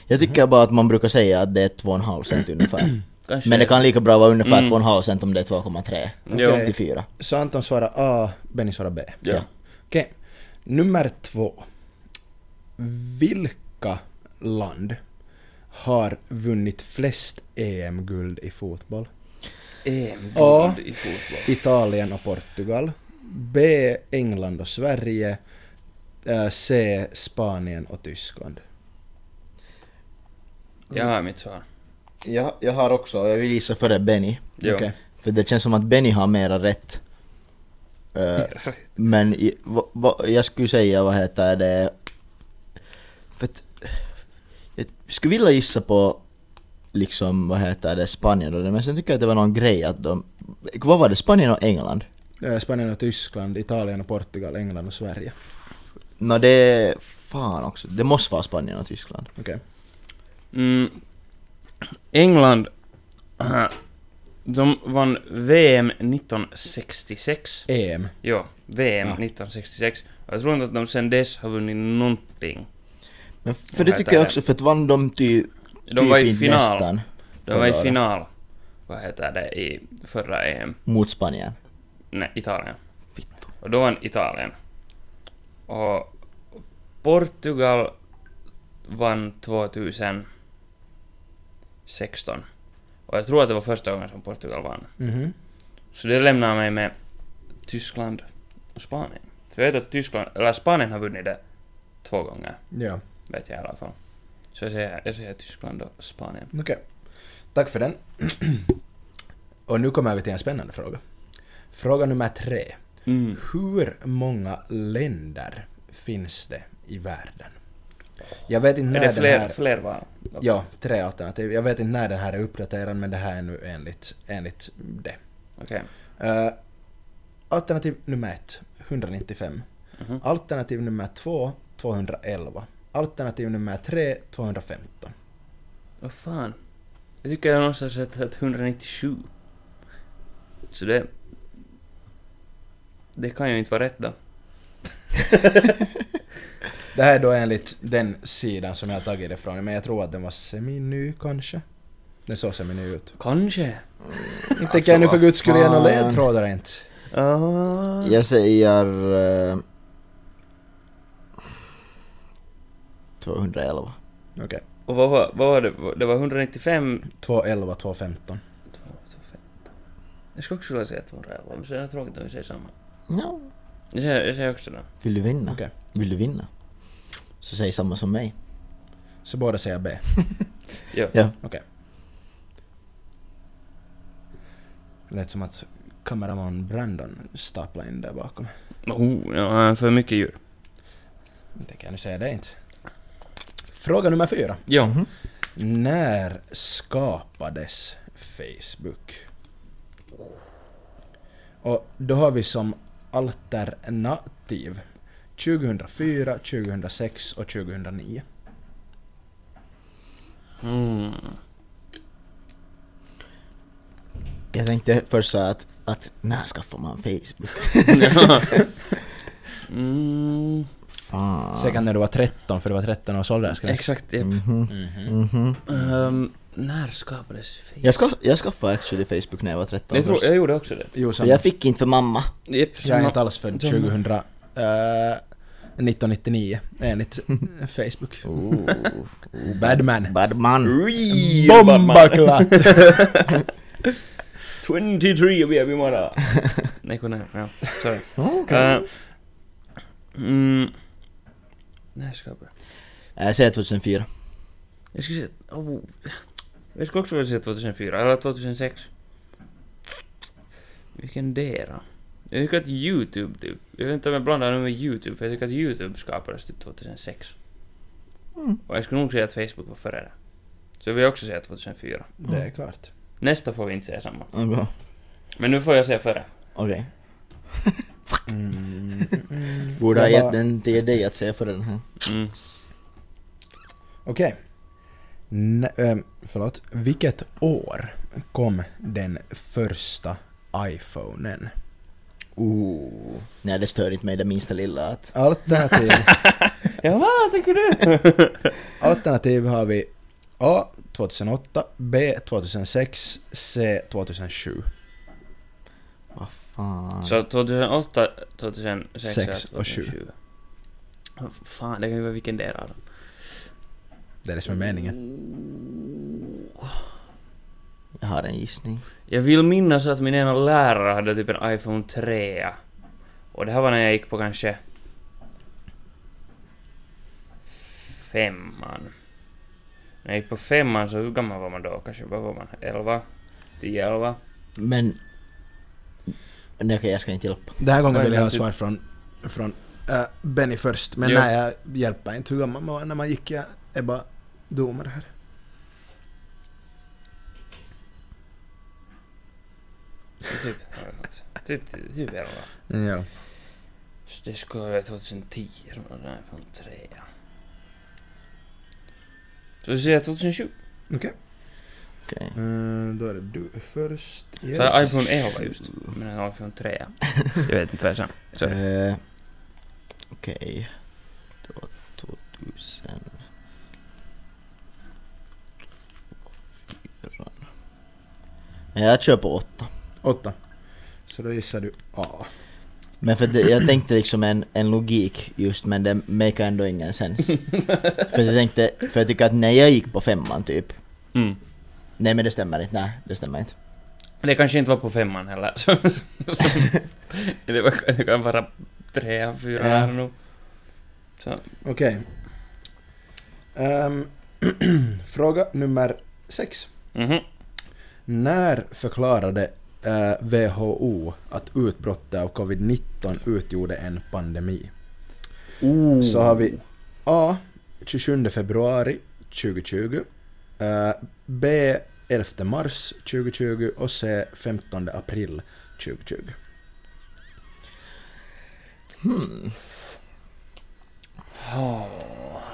Jag tycker bara att man brukar säga att det är 2,5 <clears throat> cent ungefär. Kanske. Men det kan lika bra vara ungefär Mm. 2,5 cent om det är 2,3. Jo. Okej. 54. Så Anton svarar A, Benny svarar B. Ja. Okej. Nummer två. Vilka land har vunnit flest EM-guld i fotboll? Ja. EM-guld E i fotboll. Italien och Portugal. B. England och Sverige. Eh, C. Spanien och Tyskland. Jag har mitt svar. Ja, jag har också, jag vill gissa före Benny. Jo. Okej. För det känns som att Benny har mera rätt. <laughs> Eh, men i, va, va, jag skulle säga, vad heter det... För att, jag skulle vilja gissa på liksom, vad heter det, Spanien och det, men sen tycker jag att det var någon grej att de... Vad var det? Spanien och England? Eh, Spanien och Tyskland, Italien och Portugal, England och Sverige. Nå det är... Fan också, det måste vara Spanien och Tyskland. Okej. Mm. England. äh, De vann VM 1966. EM. Jo, VM Ja. 1966. Och Jag tror inte att de sen dess har vunnit någonting. Men för det Vad tycker heter jag det? också, för att vann de ty, De var i inte final. nästan De var i förra året. final. Vad heter det i förra E EM? mot Spanien. Nej, Italien. Och då vann Italien. Och Portugal vann 2016. Och jag tror att det var första gången som Portugal vann. Mhm. Så det lämnar mig med Tyskland och Spanien. För jag vet att Tyskland, eller Spanien har vunnit det två gånger, Ja, vet jag i alla fall. Så jag säger, jag säger Tyskland och Spanien. okej. Tack för den. <clears throat> Och nu kommer vi till en spännande fråga. Fråga nummer tre. Mm. Hur många länder finns det i världen? Jag vet inte Är när det den fler, här... fler val? Ja, tre alternativ. Jag vet inte när den här är uppdaterad men det här är nu enligt, enligt det. Okej. Eh, alternativ nummer ett, 195. Mhm. Alternativ nummer två, 211. Alternativ nummer tre, 215. Vad fan? Jag tycker jag någonstans har sett att 197. Så det... Det kan ju inte vara rätt då. Det här är då enligt den sidan som jag har tagit det ifrån, men jag tror att den var semi-ny kanske. Den såg semi-ny ut. Kanske. Inte kan jag nu för Alltså, vad guds skull ge några fan. ledtrådar inte. Ah. Jag säger... eh, 211. Okej. Och vad var, vad var det? Det var 195... 211, 215. Jag skulle också vilja säga 211, men så är det tråkigt om vi säger samma. Ja. Jag säger, jag säger också det. Vill du vinna? Okej. Vill du vinna? Så säg samma som mig. Så båda säger B. Ja. Ja. Okej. Lät som att kameraman Brandon staplade in där bakom. Oh, ja, för mycket djur. Det kan jag nu säga det inte. Fråga nummer fyra. Ja. Mhm. När skapades Facebook? Och då har vi som alternativ 2004, 2006 och 2009. Mm. Jag tänkte först säga att, att när skaffar man Facebook? ja. <laughs> Mm. Fan. Säkert när du var 13, för du var 13 års åldersgräns. Exakt, yep. Mhm. Mhm. Ehm, När skapades Facebook? Jag, ska, jag skaffade actually Facebook när jag var 13 Jag, tror, först. jag gjorde också det. Jo, För samma. jag fick inte <laughs> för mamma. Yep, Jag är inte alls född samma. 2000, eh, 1999 <laughs> enligt Facebook. Badman. Mm. Badman. Bombaklatt! 23 baby mother! <laughs> Nej, kunde jag. Ja, sorry. Okay. Eh, mm. När skapades Jag säger 2004. Jag skulle säga... Oh. Jag skulle också vilja säga 2004, eller 2006. Vilken dera? Jag tycker att YouTube typ... Jag vet inte om jag blandar nu med YouTube, för jag tycker att YouTube skapades typ 2006. Och jag skulle nog säga att Facebook var före det. Så jag vill också säga 2004. Det är klart. Nästa får vi inte säga samma. Okej. Men nu får jag säga före. Okej. Mm. Borde ha Jag gett bara- den till dig att säga för den här. Mm. Okej. N- ehm, förlåt. Vilket år kom den första iPhonen? Ooh. Nej det stör inte mig det minsta lilla att... Alternativ, Ja, vad tycker du? alternativ har vi A. 2008, B. 2006, C. 2007. Vad fan. <laughs> Så 2008, 2006 Sex och Vad Fan, det kan ju vara vilken del av dem. Det är det som är meningen. Jag har en gissning. Jag vill minnas att min ena lärare hade typ en iPhone 3. Och det här var när jag gick på kanske... Femman. När jag gick på femman så hur gammal var man då? Kanske vad var man? 11? 10, 11? Men... Nej okej jag ska inte hjälpa. Den här gången Vad är vill jag ha det? svar från, från eh, Benny först, men Ja. nej jag hjälper inte hur gammal man var när man gick. Jag är bara domare här. Typ, typ, typ, typ 11. Ja. Så det skulle vara 2010 som var den här från 3. Så vi säger 2007. Okej. Okej. Eh, då är det du först. Yes. Så här, iPhone 11 just. Men en iPhone 3. Jag vet inte vad jag sa. Sorry. Eh, Okej. Det var 2000... Fyran. Nej, Jag kör på åtta. Åtta. Så då gissar du A. Men för att det, jag tänkte liksom en, en logik just men det make ändå ingen sens. <laughs> för jag tänkte, för jag tycker att när jag gick på femman typ. Mm. Nej men det stämmer inte, nej det stämmer inte. Det kanske inte var på femman heller. <laughs> Så, så, det, var, det kan vara trean, fyran Ja. här nog. Så, Okej. Ehm, <clears throat> fråga nummer sex. mhm. När förklarade eh, WHO att utbrottet av Oh. covid-19 utgjorde en pandemi? Så har vi A. 27 februari 2020. eh, B 11 mars 2020 och C 15 april 2020.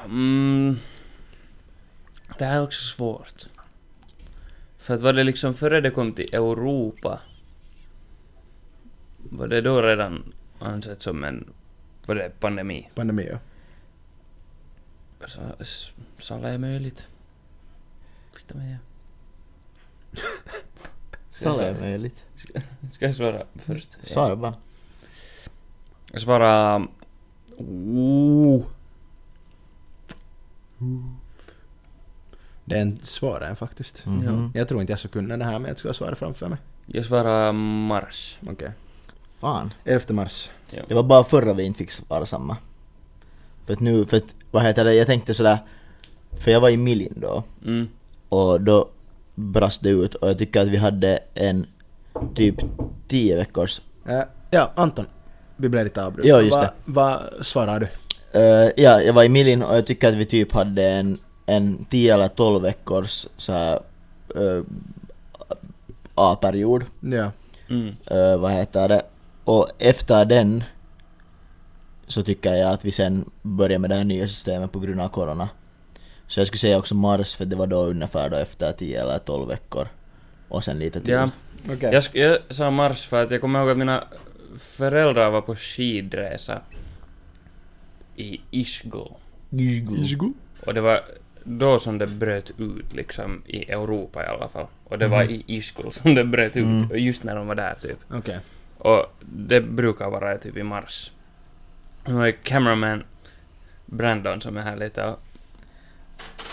Mm. Det här är också svårt. För att var det liksom före det kom till Europa, var det då redan ansett som en, var det pandemi? Pandemi ja. Så, s- så alla är möjligt. Fitta mig. Salla är möjligt. Ska jag svara först? Svara bara. Jag svarar... Oh. Det är en svårare än faktiskt. Mhm. Ja. Jag tror inte jag skulle kunna det här men jag skulle ha svaret framför mig. Jag svarar mars. Okej. Fan. 11 mars. Det var bara förra vi inte fick svara samma. För att nu, för att, vad heter det, jag tänkte sådär, för jag var i Milin då Mm. och då brast det ut och jag tycker att vi hade en typ 10 veckors, Eh, ja, Anton. Vi blev lite avbrutna. Ja, just Va- det. Vad svarar du? Eh, ja jag var i Milin och jag tycker att vi typ hade en, en 10 eller 12 veckors såhär uh, A-period. Ja. Mm. uh, vad heter det, och efter den så tycker jag att vi sen börjar med det här nya systemet på grund av corona. Så jag skulle säga också mars för det var då ungefär då efter 10 eller 12 veckor. Och sen lite till. Ja. Okej. Jag, sk- jag sa mars för att jag kommer ihåg att mina föräldrar var på skidresa i Ishgol. Och det var då som det bröt ut liksom i Europa i alla fall. Och det var i Ishgol som det bröt ut, Mhm. Mm. och just när de var där typ. Okej. Och det brukar vara typ i mars. Nu är cameraman Brandon som är här lite och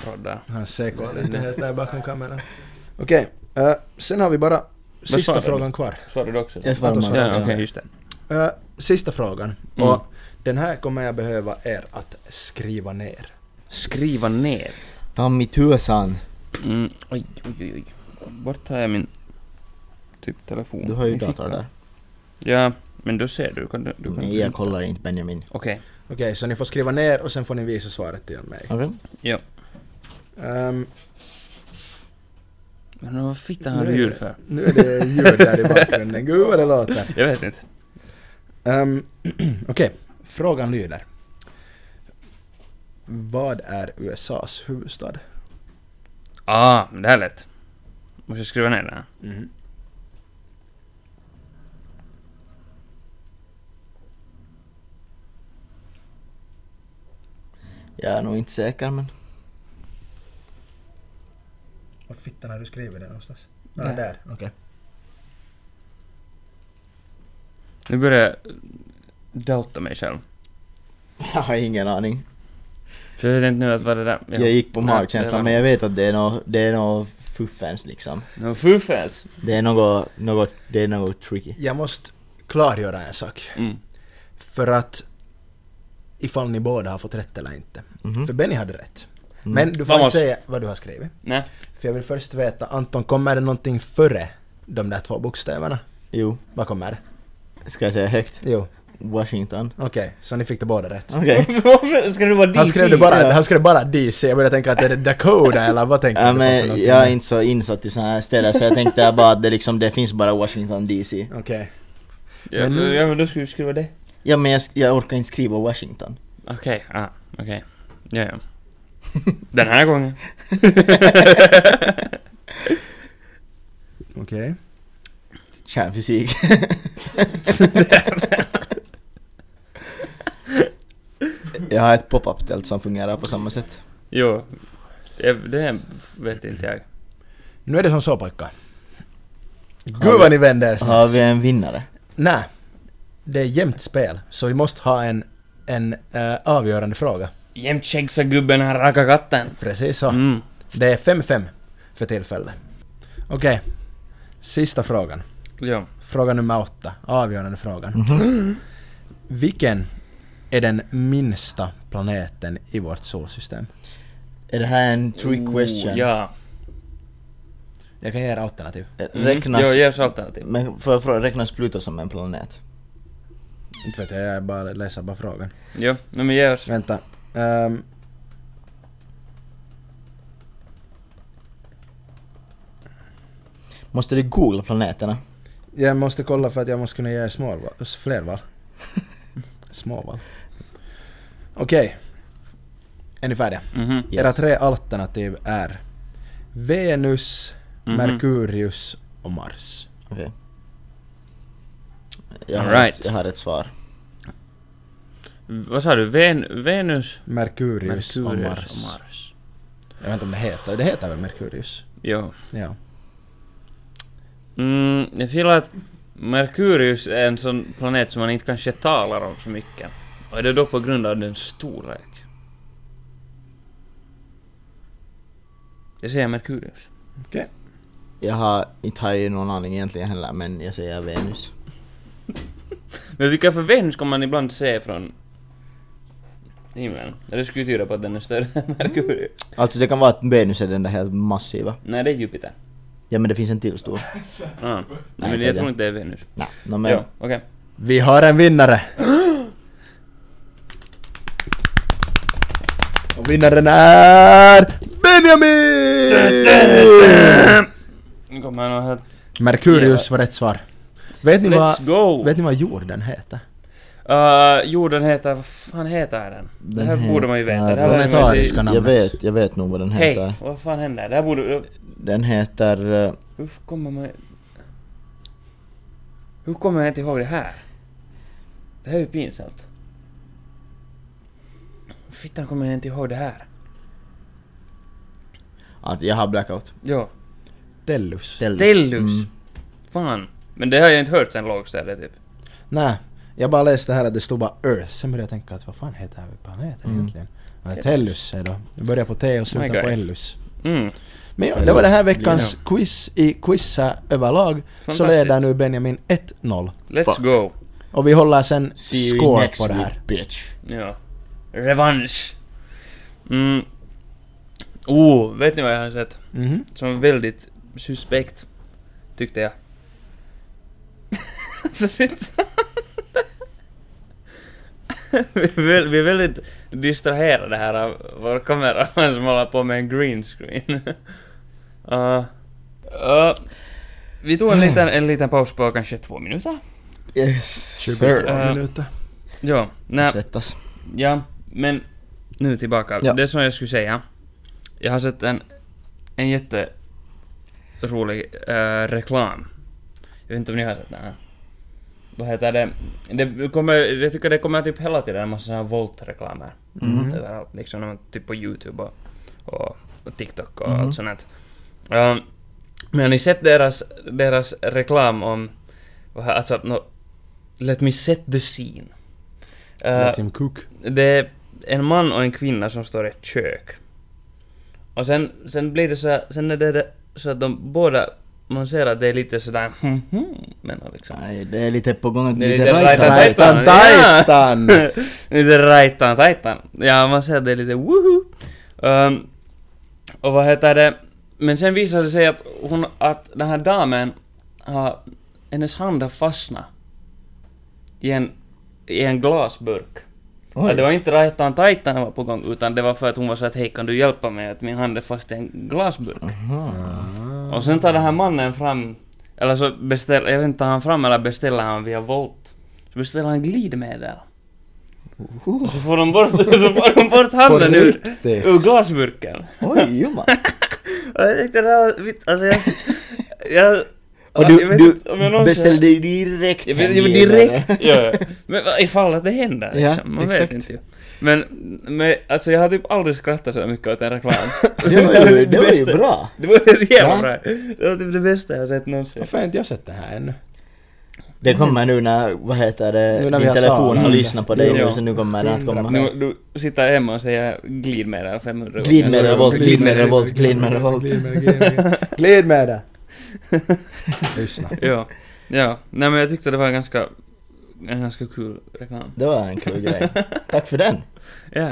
roddar. Han sekar lite här där bakom kameran. Okej. eh, sen har vi bara sista svarade du? frågan kvar. Svarar du också? Jag svarar Anton mars. svarar Ja, okej, Ja, just det. Eh, sista frågan. Mm. Och den här kommer jag behöva er att skriva ner. Skriva ner. Ta mitt tusan. Mm, oj, oj, oj, oj. Vart har jag min typ telefon? Du har ju Min dator där. Ja, men då ser du. Kan du, du kan Nej printa. jag kollar inte Benjamin. Okej. Okej, så ni får skriva ner och sen får ni visa svaret till mig. Okej. Ehm, Men vad fitta Nu har är du det- ljud för? nu är det ljud där i bakgrunden. Gud vad det låter. Jag vet inte. Ehm, <clears throat> Okej, frågan lyder. Vad är USAs huvudstad? Ah, men det här är lätt. Måste jag skriva ner det här? Jag är nog inte säker men. <laughs> Vad fittan har du skrivit det någonstans? Ah, Där. där, okej. Nu börjar jag doubta mig själv. Jag har ingen aning. För jag vet inte nu att vad det där... ja. Jag gick på Ja, magkänslan det men jag vet att det är nå det är nå fuffens liksom. var- Nå, fuffens! Det är något, något, det är något tricky. Jag måste klargöra en sak. <laughs> Mm. För att ifall ni båda har fått rätt eller inte. Mhm. För Benny hade rätt. Mm. Men du får Vamos. inte säga vad du har skrivit. Nej. För jag vill först veta, Anton, kommer det någonting före de där två bokstäverna? Jo, Vad kommer det? ska jag säga högt? Jo, Washington. okej, så ni fick det båda rätt. Okej. Varför ska du vara DC? Han skrev, det bara, ja. han skrev bara DC, jag började tänka att är det Dakota eller vad tänker Ja, du på för men någonting? jag är inte så insatt i sådana här ställen så jag tänkte bara att det, liksom, det finns bara Washington DC. Okej. Ja, Men nu- ja, men då ska du skriva det. Ja men jag, sk- jag orkar inte skriva Washington. Okej, ah, okej. Ja, ja. Den här <laughs> gången. <laughs> Okej. Kärnfysik. jag har ett pop-up tält som fungerar på samma sätt. jo. Det, det vet inte jag. Nu är det som så pojkar. Har vi- Gud vad ni vänder er Har snabbt. vi en vinnare? Nej. Det är jämnt spel, så vi måste ha en, en eh, avgörande fråga. Jämt skägg sa gubben, han rackar katten. Precis så. Mm. Det är 5-5 för tillfället. Okej. Sista frågan. Jo. Fråga nummer åtta. Avgörande frågan. Mhm. <gasps> Vilken är den minsta planeten i vårt solsystem? Är det här en trick question? Oh, Ja. Jag kan ge er alternativ. Mm. Räknas, Jo, ge oss alternativ. men får jag fråga, räknas Pluto som en planet? Inte vet jag, jag bara läser bara frågan. Jo, no, men ge oss. Vänta. Ehm, Måste du googla planeterna? Jag måste kolla för att jag måste kunna ge småval, flerval. Småval. Okej. Är ni färdiga? Mhm. Yes. Era tre alternativ är Venus, Mhm. Merkurius och Mars. Okej. Jag, har Alright. ett, jag har ett svar. V- Vad sa du? Ven- Venus, Merkurius, Merkurius och och Mars. Mars. Jag vet inte om det heter, det heter väl Merkurius? Jo. Ja. Mm, jag gillar att Merkurius är en sån planet som man inte kanske talar om så mycket. Och är det då på grund av den storlek? Jag säger Merkurius. Jag har inte har ju någon aning egentligen heller, men jag säger Venus. Men jag tycker för Venus kan man ibland se från himlen. Och Det skulle tyda på att den är större än Merkurius. Alltså det kan vara att Venus är den där helt massiva. Nej, det är Jupiter. Ja men det finns en till stor. Ja. Nej, men det är jag det. tror inte det är Venus. Nej, no, men... Ja, okej. Vi har en vinnare! Och vinnaren är Benjamin! Nu kommer något helt... Merkurius var rätt svar. Vet ni, Let's vad, go! vet ni vad jorden heter? Uh, jorden heter... Vad fan heter den? det här borde man ju veta. heter- Det här lärde man sig- Planetariska Jag namnet. vet, jag vet nog vad den heter. Hej, vad fan hände? Det här borde... Den heter... eh, Hur kommer man... Hur kommer jag inte ihåg det här? Det här är ju pinsamt. Fittan kommer jag inte ihåg det här. att jag har blackout. Jo. Tellus. Tellus. Tellus. Mm. Fan. Men det har jag inte hört sen lågstadiet typ. Nej, jag bara läste här att det stod bara Earth. Sen började jag tänka att vad fan heter planeten Mm. egentligen? Vad är Tellus är då? Det börjar på T och slutar My på guy. Ellus. Mm. Men ja, det var det här veckans quiz i Quizza överlag. Så Fantastiskt. leder nu Benjamin 1-0. Let's Fuck. go. Och vi håller sen See you score next på det week, här. bitch. Ja. Revansch. Mm. Oh, vet ni vad jag har sett? Mhm. Som väldigt suspekt. Tyckte jag. <laughs> Så fint. vi, är väl, vi är väldigt distraherade här av vår kameraman <laughs> som håller på med en green screen. <laughs> Ah. Ah. vi tog en liten, en liten paus på kanske två minuter. Yes, 22 Eh, minuter. Ja, nej, Svettas. Ja, men nu tillbaka. Ja. Det som jag skulle säga. Jag har sett en, en jätterolig eh, reklam. Jag vet inte om ni har sett den här. Vad heter det? det kommer, jag tycker det kommer typ hela tiden en massa såna här Volt-reklamer. Överallt. Liksom när man- typ på YouTube och, och, och TikTok och allt sånt. här. Ehm, men har ni sett deras, deras reklam om... vad här- Alltså, no, let me set the scene. Eh, Let him cook. det är en man och en kvinna som står i ett kök. Och sen, sen blir det så här, sen är det, det så att de båda, man ser att det är lite sådär hmm, hmm, men liksom. Nej, det är lite på gång att Det är lite lite rajtan. rajtan, rajtan. Titan, Ja! Titan! <laughs> lite rajtan tajtan. Ja, man ser att det är lite woho! Ehm, och vad heter det? Men sen visar det sig att hon, att den här damen har, hennes hand har fastnat i en, i en glasburk. Oj. Ja, det var inte rajtan tajtan han var på gång, utan det var för att hon var så att hej kan du hjälpa mig att min hand är fast i en glasburk. Mm. Och sen tar den här mannen fram, eller så beställer, jag vet inte, tar han fram eller beställer han via Volt. Så beställer han glidmedel. Och så får de bort, <laughs> så får de bort handen ur, riktigt? ur glasburken. Oj, jumma. Och jag tyckte det här var vitt, alltså jag... jag Och jag du, vet du inte om jag någonsin- beställde ju direkt jag vet, hem jag vet, igen, direkt! <laughs> eller? ja, ja. Men vad ifall att det händer Ja, liksom. Man vet exakt. inte ju. Men, men alltså jag har typ aldrig skrattat så mycket åt en reklam. <laughs> Det var <laughs> ju, det var ju bästa. bra. Det var så jävla Va? bra. Det var typ det bästa jag har sett någonsin. Varför har inte jag sett det här ännu? Det kommer nu när, vad heter det, Nu när vi din har telefon har talat. lyssnat på dig Jo. nu så nu kommer den att komma. Nu, du sitter jag hemma och säger glidmedel 500 Glidmedel, volt, glidmedel, volt, glidmedel, volt. Glid med det! Lyssna. Ja. Ja. Nej men jag tyckte det var en ganska, en ganska kul reklam. Det var en kul grej. Tack för den. Ja.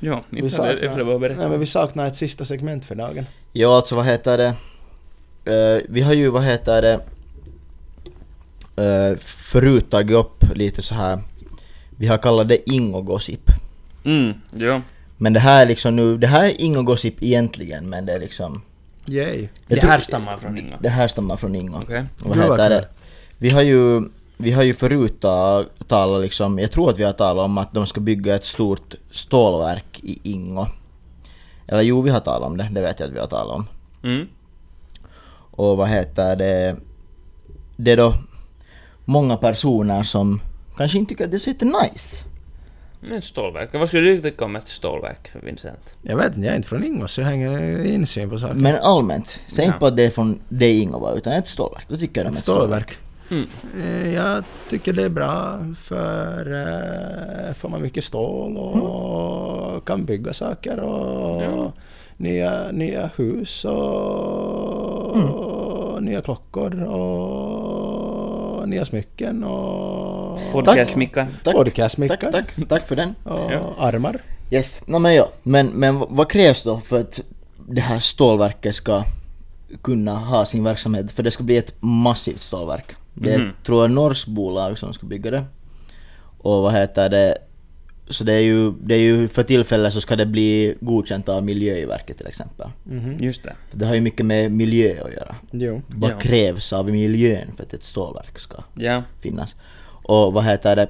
Ja, Vi inte hade jag ville bara saknar, nej, berätta. men vi saknar ett sista segment för dagen. Ja, alltså vad heter det? Eh, vi har ju, vad heter det? Uh, förut tagit upp lite så här. Vi har kallat det Ingo-gossip. Mm, ja. Men det här är liksom nu, det här är Ingo-gossip egentligen men det är liksom Yay. Jag Det tror- härstammar från Inga. Det här stammar från Ingo. Okej. Och vad Gud, vad kul. heter det? Vi har ju, vi har ju förut ta- talat liksom, jag tror att vi har talat om att de ska bygga ett stort stålverk i Ingo. Eller jo, vi har talat om det, det vet jag att vi har talat om. Mm. Och vad heter det? Det är då många personer som kanske inte tycker att det är så nice. Men ett stålverk. Vad skulle du tycka om ett stålverk, Vincent? Jag vet inte, jag är inte från Ingvar så jag har ingen insyn på saken. Men allmänt, säg Ja. inte bara att det är från dig Ingo bara, utan ett stålverk. Då tycker jag de är Ett stålverk. Mm. Eh, Jag tycker det är bra för eh, får man mycket stål och kan bygga saker och Ja. nya, nya hus och nya klockor och nya smycken och Podcast-Mickan. Tack. Podcastmickar. Tack, tack, tack för den. och Ja. armar. Yes, no, men ja. Men, men v- vad krävs då för att det här stålverket ska kunna ha sin verksamhet? För det ska bli ett massivt stålverk. Det är, Mhm. tror jag, norskt bolag som ska bygga det. Och vad heter det? Så det är ju, det är ju för tillfället så ska det bli godkänt av Miljöverket till exempel. Mhm. Just det. För det har ju mycket med miljö att göra. Jo. Vad Ja. krävs av miljön för att ett stålverk ska Ja. finnas. Och vad heter det?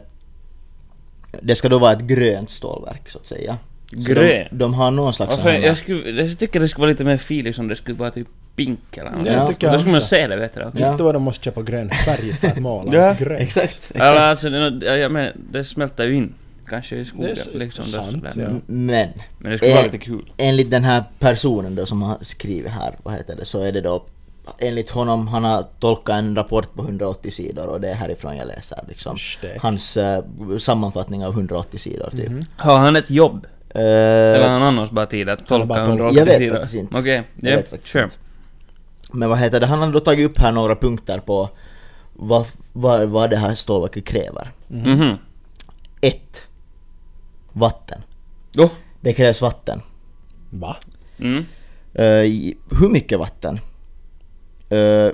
Det ska då vara ett grönt stålverk så att säga. Så Grönt? De, de har någon slags... Varför, sån här- jag, skulle, jag tycker det skulle vara lite mer feeling om det skulle vara typ pink eller något. Ja, jag tycker Då skulle man också. se det Alltså, bättre också. Ja. Inte vad de måste köpa grön färg för att måla Ja. grönt. Exakt, Eller exakt. alltså, det, ja, ja, men det smälter ju in. Kanske i skogen Det är liksom. sant, där, ja. M- Men Men det skulle vara Eh, lite kul. enligt den här personen då som har skrivit här, vad heter det, så är det då enligt honom, han har tolkat en rapport på 180 sidor och det är härifrån jag läser liksom. Stek. Hans eh, sammanfattning av 180 sidor typ. Har han ett jobb? Eh, Mhm. Eller har han annars bara tid att Han har tolka bara tolkat. 180 Jag vet sidor? faktiskt inte. Okej, Jag ja, vet faktiskt sure. inte. Men vad heter det, han har då tagit upp här några punkter på vad, vad, vad det här stålverket kräver. Mm. Mhm. 1. Vatten. Jo. Det krävs vatten. Va? Mm. Eh, i- hur mycket vatten? Eh,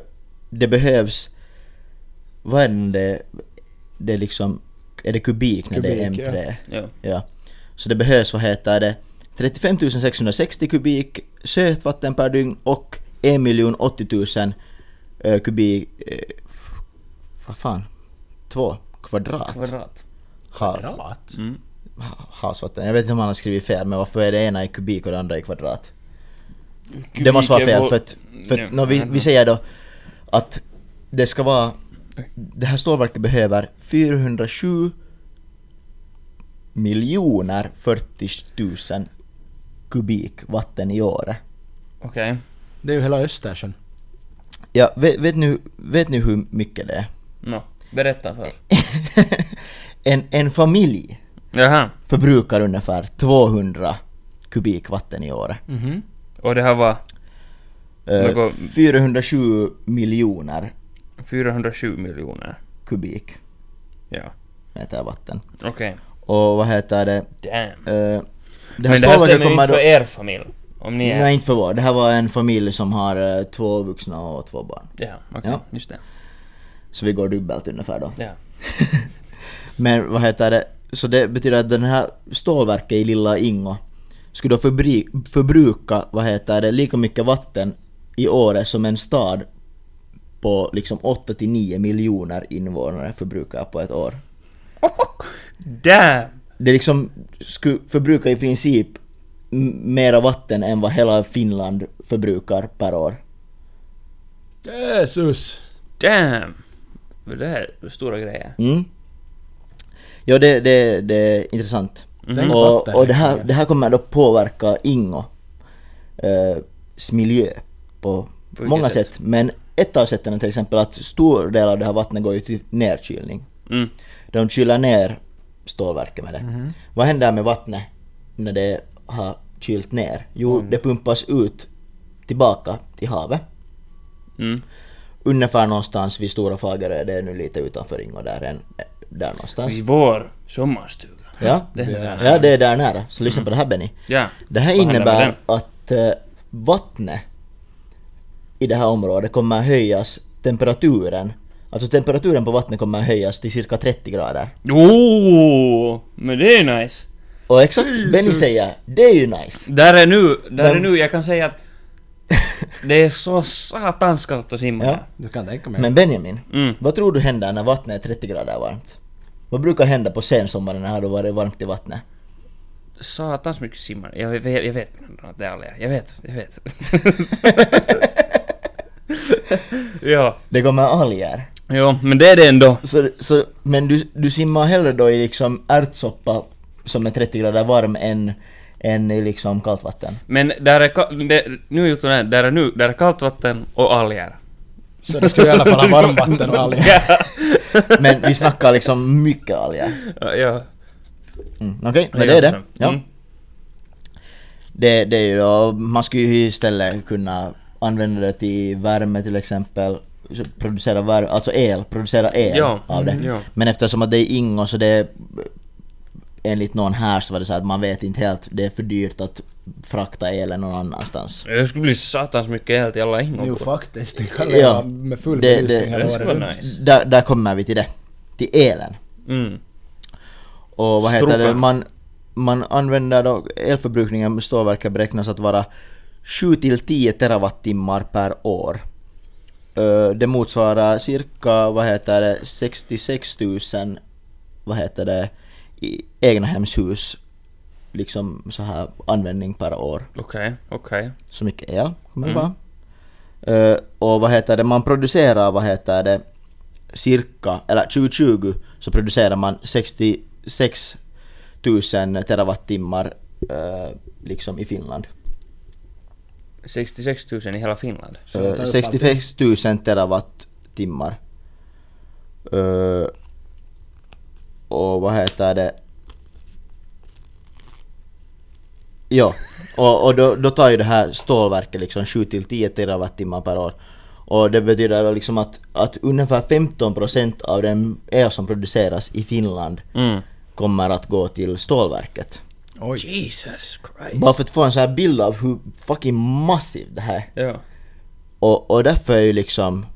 det behövs... Vad är det- det... Det är liksom... Är det kubik när det är Kubik, M3? Ja. Ja. Så det behövs, vad heter det, 35 660 kubik sötvatten per dygn och 1 080 000 eh, kubik... eh, Vad fan? Två kvadrat Kvadrat. ha, Kvadrat? Mm. ha- havsvatten. Jag vet inte om han har skrivit fel, men varför är det ena i kubik och det andra i kvadrat? det måste vara fel för att... För att nå, vi, vi säger då att det ska vara... Det här stålverket behöver 407 miljoner 40 000 kubik vatten i året. Okej. Det är ju hela Östersjön. Ja, vet, vet, nu, vet ni hur mycket det är? <laughs> Nå, berätta för. en, en familj Jaha. förbrukar ungefär 200 kubik vatten i året. Mhm. Och det här var Eh, Något- 407 miljoner 407 miljoner. kubik Ja. meter vatten. Okej. Och vad heter det? Damn. Eh, det här Men det här stålverket stämmer ju kommer inte för då- er familj. Om ni är... Nej, inte för vår. Det här var en familj som har eh, två vuxna och två barn. Ja, okej. Ja. Just det. Så vi går dubbelt ungefär då. Ja. Men vad heter det? Så det betyder att den här stålverket i lilla Ingo skulle då förbri- förbruka, vad heter det, lika mycket vatten i året som en stad på liksom 8 till 9 miljoner invånare förbrukar på ett år. Damn! Det liksom skulle förbruka i princip m- mera vatten än vad hela Finland förbrukar per år. Jesus! Damn! Men Det här är stora grejer. Mm. Ja, det, det, det är intressant. Den Och, fattar och det, här, jag. det här kommer då påverka Ingo eh, s miljö på, På vilket många sätt? sätt. Men ett av sätten är till exempel att stor del av det här vattnet går ju till nerkylning. Mm. De kyler ner stålverket med det. Mhm. Vad händer med vattnet när det har kylt ner? Jo, det pumpas ut tillbaka till havet. Mm. Ungefär någonstans vid Stora Fagerö, det är nu lite utanför Ingo där, en, där någonstans. I vår sommarstuga. Ja, Det är nära. ja det är där nära. Så lyssna på det här Benny. Ja. Det här Vad händer med innebär att eh, vattnet i det här området kommer höjas temperaturen. Alltså temperaturen på vattnet kommer höjas till cirka 30 grader. Oh, men det är nice. Och exakt Benny säger, det är ju nice. Där är nu, där är Men- nu, jag kan säga att Det är så satans kallt att simma Ja. här. Du kan tänka mig. Men Benjamin, Mm. vad tror du händer när vattnet är 30 grader varmt? Vad brukar hända på sensommaren när det har varit varmt i vattnet? Satans mycket simmar. Jag, vet- jag, jag vet att det är aldrig. Jag vet, jag vet. ja. Det kommer alger. Jo, men det är det ändå. Så, så, men du, du simmar hellre då i liksom ärtsoppa som är 30 grader varm än, än i liksom kallt vatten? Men där är, ka- det, nu gjorde jag där är nu, där är kallt vatten och alger. Så det skulle i alla fall ha varmvatten <laughs> och alger. Ja. Men vi snackar liksom mycket alger. ja. Mm, Okej, men det är det. Ja. Mm. Det, det är ju då, man skulle ju istället kunna använda det till värme till exempel. Så Producera värme, alltså el, producera el Ja, av det. mm, ja. Men eftersom att det är ingo så det är, enligt någon här så var det så att man vet inte helt, det är för dyrt att frakta elen någon annanstans. Det skulle bli satans mycket el till alla Jo ingon. faktiskt, det kan Ja. leva med full Det- det- det belysning hela skulle året vara runt. nice. Där, där kommer vi till det. Till elen. Mm. Och vad heter Struka. det? Man, man använder då, elförbrukningen står verkar beräknas att vara 7 till 10 terawattimmar per år. Eh, Det motsvarar cirka, vad heter det, 66 000, vad heter det, i egnahemshus. Liksom så här användning per år. Okej, okej. Så mycket el kommer det vara. Eh, och vad heter det, man producerar vad heter det, cirka, eller 2020 så producerar man 66 000 terawattimmar eh, liksom i Finland. 66 000 i hela Finland. Så Eh, tar upp 66 000 terawattimmar. Eh, och vad heter det? Ja, och, och då, då tar ju det här stålverket liksom 7-10 terawattimmar per år. Och det betyder då liksom att, att ungefär 15% av den el som produceras i Finland Mm. kommer att gå till stålverket. Oj. Jesus Christ. Bara för att få en sån här bild av hur fucking massivt det här är. Ja. Och, och därför är ju liksom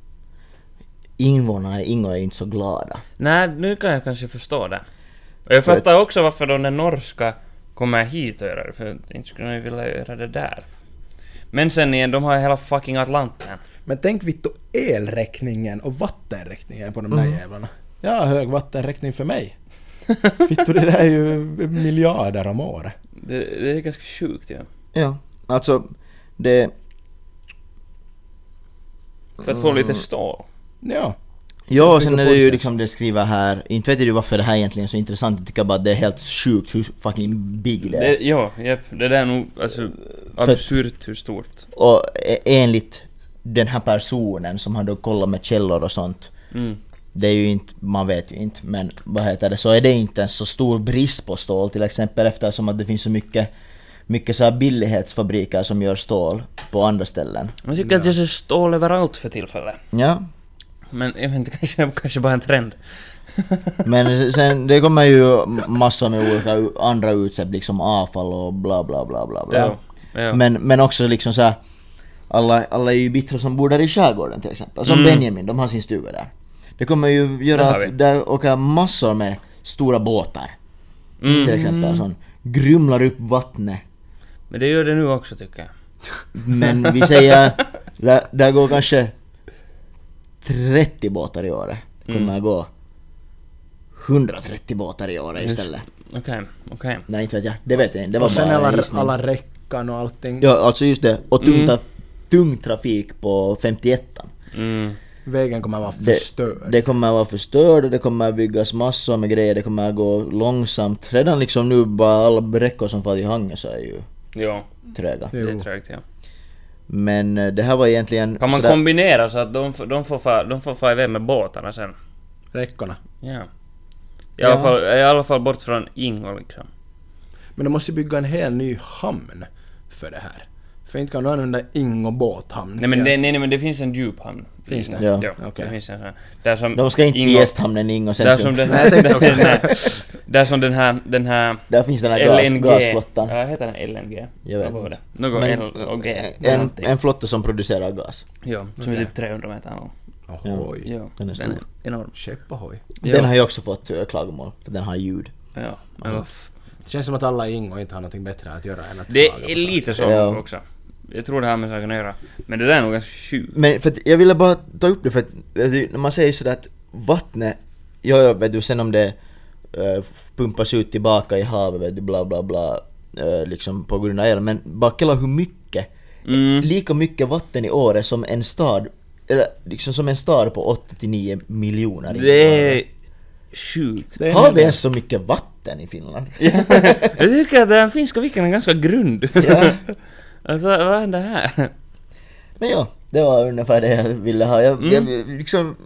invånarna i Ingå är ju inte så glada. Nej, nu kan jag kanske förstå det. Och jag För fattar också varför de där norska kommer hit och gör det, för inte skulle de ju vilja göra det där. Men sen igen, de har ju hela fucking Atlanten. Men tänk vittu elräkningen och vattenräkningen på de där jävlarna. Jag har hög vattenräkning för mig. <laughs> Vittu det där är ju miljarder om året. Det, det är ganska sjukt ju. Ja. Ja. Alltså, det... För att få lite stål. Ja. Ja, och bygger sen är på det ju en liksom det skriver här, inte vet jag ju varför det här egentligen är så intressant, jag tycker bara att det är helt sjukt hur fucking big det Det, är. ja, japp. Det där är nog alltså, absurt hur stort. Och e- enligt den här personen som har då kollat med källor och sånt, Mm. det är ju inte, man vet ju inte, men vad heter det, så är det inte en så stor brist på stål till exempel eftersom att det finns så mycket, mycket så här billighetsfabriker som gör stål på andra ställen. Man tycker att det är så stål överallt för tillfället. Ja, Men jag vet inte, <laughs> kanske, kanske bara en trend. Men sen, det kommer ju massor med olika u- andra utsläpp, liksom avfall och bla bla bla bla bla. Ja. Ja. Men, men också liksom så här, alla, alla är ju bittra som bor där i skärgården till exempel. Som Benjamin, de har sin stuga där. Det kommer ju göra Det Mm. har vi. att där åker massor med stora båtar. Mm. Till exempel, som grumlar upp vattnet. Men det gör det nu också tycker jag. Men vi säger, där, där går kanske 30 båtar i året. Det kommer Mm. att gå 130 båtar i året istället. Okej, okej. Nej inte vet jag, det vet jag inte. Det var Och sen bara alla, en gissning. alla räckan och allting. Ja alltså just det, och tung, tra- tung trafik på 51 Mm. Vägen kommer att vara det, förstörd. det kommer att vara förstörd och det kommer att byggas massor med grejer, det kommer att gå långsamt. Redan liksom nu bara alla räckor som far till Hangö så är ju Ja, tröga. det är Jo. trögt ja. Men eh, det här var egentligen... Kan man sådär- kombinera så att de, f- de får fa- de får fara iväg med båtarna sen? Räckorna. Ja. I, alla Ja. fall, I alla fall bort från Ingo liksom. Men de måste ju bygga en hel ny hamn för det här. För inte kan du använda Ingo båthamn. Nej men, till det, att- nej, nej men det finns en djuphamn. Finns det? Ja, Ja, okej. det finns en sån. Där som De ska inte till Ingo, gästhamnen Ingo Där som centrum. den Nej, jag här... <laughs> tänkte också nej, där som den här... Den här Där finns den här LNG. gas, gasflottan. Ja, heter den LNG? Jag vet Vad var det? inte. Något Men, LNG? en, någonting. en flotta som producerar gas. Ja, som är typ 300 meter lång. Ohoj. Ja, Den är stor. enorm. Skeppahoj. Den har ju också fått eh, klagomål, för den har ljud. Ja, men vad f- Det känns som att alla i Ingo inte har något bättre att göra än att Det klaga på är saker. lite så Ja. också. Jag tror det har med saken att göra. Men det där är nog ganska sjukt. Men för att jag ville bara ta upp det för att eh, det- när man säger sådär att vattnet, ja, ja vet du sen om det eh, pumpas ut tillbaka i havet vet du bla bla bla eh, liksom på grund av el men bara kolla hur mycket, Mm. lika mycket vatten i året som en stad, eller liksom som en stad på 89 miljoner Det är sjukt. Det är Har en vi hel del. ens så mycket vatten <laughs> i Finland? Jag tycker att den finska viken är ganska grund. Ja. alltså, vad händer här? <laughs> Men ja, det var ungefär det jag ville ha. Jag, Mm. jag liksom,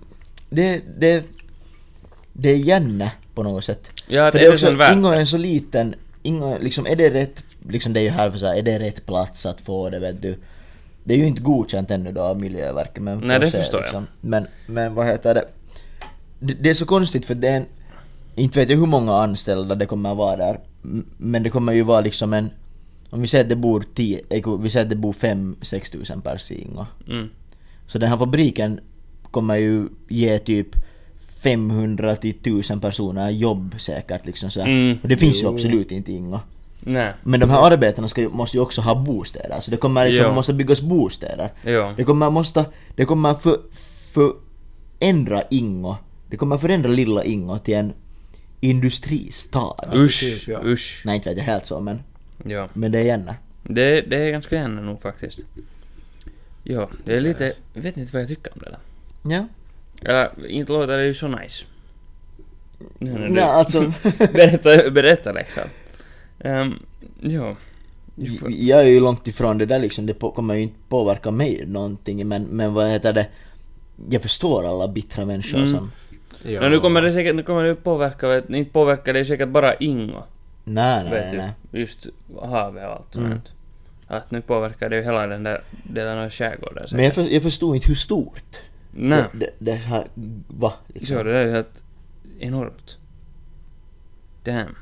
det, det, det är gärna på något sätt. Ja, för det det är är liksom värt också, Ingo är en så liten, Ingo, liksom är det rätt, liksom det är ju här för så här, är det rätt plats att få det vet du. Det är ju inte godkänt ännu då av Miljöverket men Nej, får liksom. det förstår jag. Men, men vad heter det? det? Det är så konstigt för det är en, inte vet jag hur många anställda det kommer att vara där. m- Men det kommer ju vara liksom en, om vi säger att det bor 10, eh, vi säger att det bor 5-6 tusen pers i Ingo. Mm. Så den här fabriken kommer ju ge typ 500 till 1000 personer jobb säkert liksom så. här. Mm. Och det finns ju absolut inte i Ingo. Nej. Men de här arbetarna ska, ju- måste ju också ha bostäder, så det kommer liksom, Ja. måste byggas bostäder. Jo. Det kommer måste, det kommer för, förändra Ingo, det kommer förändra lilla Ingo till en industristad. Usch, typ, ja. usch. Nej inte vet jag helt så men, Ja. men det är gärna. Det, det är ganska gärna nog faktiskt. Ja, det är lite... Jag vet inte vad jag tycker om det där. Ja. Eller, inte låter det ju så nice. Nu när du- <laughs> Nej alltså. <laughs> berätta, berätta liksom. Um, ja. Du får- Jag är ju långt ifrån det där liksom, det på, kommer ju inte påverka mig någonting men, men vad heter det? Jag förstår alla bittra människor Mm. som... Ja. No, nu kommer det säkert, nu kommer det påverka, vet, ni, inte påverkar det ju säkert bara Ingo. Nej, nej, vet nej. Mm. nej. du, just havet och allt sånt. Att nu påverkar det ju hela den där delen av skärgården Men säkert. jag, för, jag förstod inte hur stort. Nej. Det, det, det här... Va? Liksom. Så det där är ju helt enormt. Damn.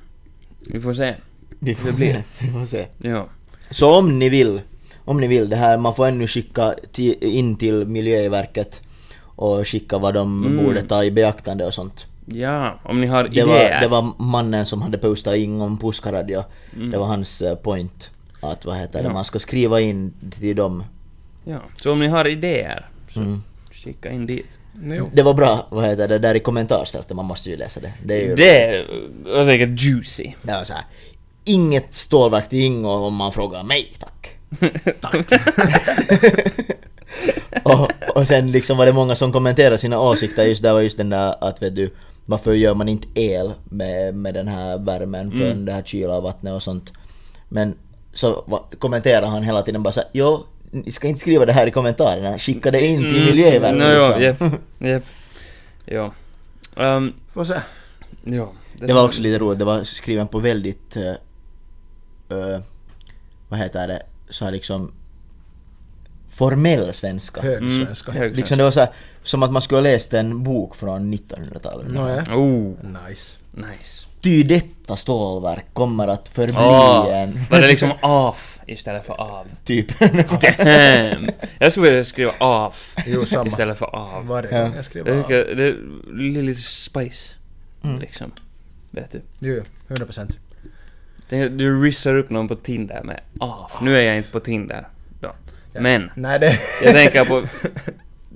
Vi får se. Vi får, blir. <laughs> vi får se. Ja. Så om ni vill, om ni vill det här, man får ännu skicka ti- in till Miljöverket och skicka vad de Mm. borde ta i beaktande och sånt. Ja, om ni har Det idéer. var, det var mannen som hade postat in om Puskaradio. Det var hans eh, point. Att vad heter det, Mm. Ja. man ska skriva in till dem. Ja. Så om ni har idéer, så Mm. skicka in dit. Jo. Det var bra, vad heter det, där i kommentarsfältet, man måste ju läsa det. Det är ju Det var säkert juicy. det var så här, Inget stålverk till Ingo om man frågar mig, <laughs> tack. <laughs> och, och sen liksom var det många som kommenterade sina åsikter just där var just den där att vet du varför gör man inte el med, med den här värmen från Mm. det här kyla och vattnet och sånt. Men så va, kommenterar han hela tiden bara såhär jo, ni ska inte skriva det här i kommentarerna, skicka det in till Miljöverket Nå, Mm. ja, liksom. japp, japp. Ja. Ehm, Får se. ja. Det var också lite roligt, det var skriven på väldigt... eh, eh, vad heter det? Så här liksom... Formell svenska. Högsvenska. Mm, hög- Liksom det var så här, som att man skulle ha läst en bok från 1900-talet. Nåja. Oh, Nice. nice. Ty detta stålverk kommer att förbli Ah, <laughs> en... var det liksom off istället för av? <laughs> typ. Damn! Jag skulle vilja skriva av Jo, samma. istället för av. Varje Ja. gång jag skriver Jag av. tycker det är lite spice. Liksom. Vet du. Jo, 100 procent. Tänk att Du rissar upp någon på Tinder med av. Nu är jag inte på Tinder. Då. Men, Nej, det... jag tänker på...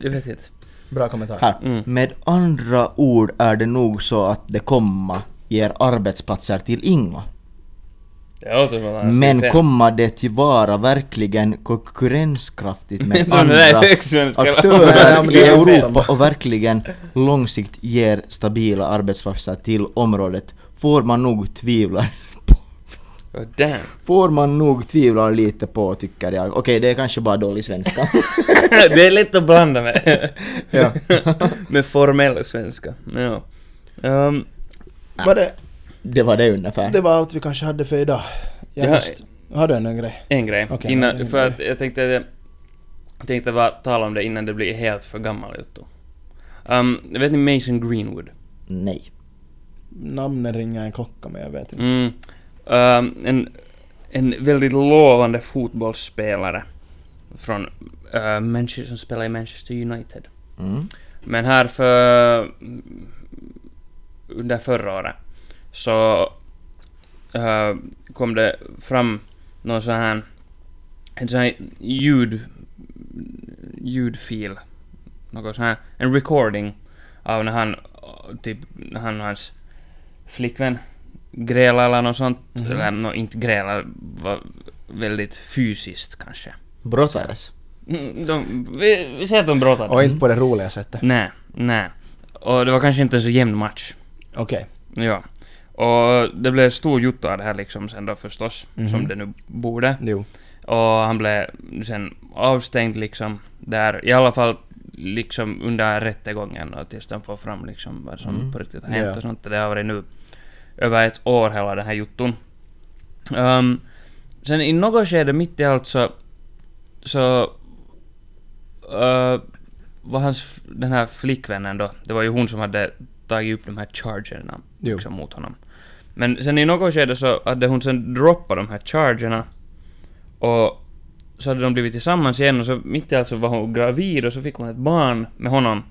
Jag vet inte. <laughs> Bra kommentar. <laughs> här. Med andra ord är det nog så att det komma ger arbetsplatser till Ingo. Det låter som att han skulle Men säga- kommer det till vara verkligen konkurrenskraftigt med De där andra högsvenska- Ja, aktörer men i det är Europa fint. och verkligen långsiktigt ger stabila arbetsplatser till området? Får man nog tvivla <laughs> på. Oh, damn. <laughs> Får man nog tvivla lite på tycker jag. Okej, det är kanske bara dålig svenska. <laughs> det är lätt att blanda med. Ja. <laughs> med formell svenska. Ja. Ehm, Var det, det var det ungefär. det var allt vi kanske hade för idag. Jag Ja. måste... Har du en grej? en grej. Okej, innan, nej, det är för en att jag tänkte... det- Jag tänkte bara tala om det innan det blir helt för gammal Jotto. Um, vet ni Mason Greenwood? Nej. Namnet ringer en klocka men jag vet inte. Mm. Ehm, en, en väldigt lovande fotbollsspelare. Från eh, Manchester, som spelar i Manchester United. Mm. Men här för... mm, Under förra året så eh, kom det fram någon sån här en sån här ljud... ljudfil. Något sån här, en recording av när han, äh, typ, när han och hans flickvän grälar eller något sånt. Mhm. Eller nå inte grälar, var väldigt fysiskt kanske. Brottades. Mm, De, vi, vi ser att de brottades. Och inte på det roliga sättet. Nej, nej. Och det var kanske inte en så jämn match. Okej. Ja. Och det blev stor jotto av det här liksom sen då förstås, Mhm. som det nu borde. Jo. Och han blev sen avstängd liksom där, i alla fall liksom under rättegången och tills de får fram liksom vad som Mm. på riktigt har hänt Ja. och sånt. Det har varit nu över ett år hela den här jotton. Ehm, sen i något skede mitt i allt så, så eh, var hans, f- den här flickvännen då, det var ju hon som hade tagit upp de här chargerna Jo. liksom mot honom. Men sen i något skede så hade hon sen droppat de här chargerna och så hade de blivit tillsammans igen och så mitt i allt så var hon gravid och så fick hon ett barn med honom.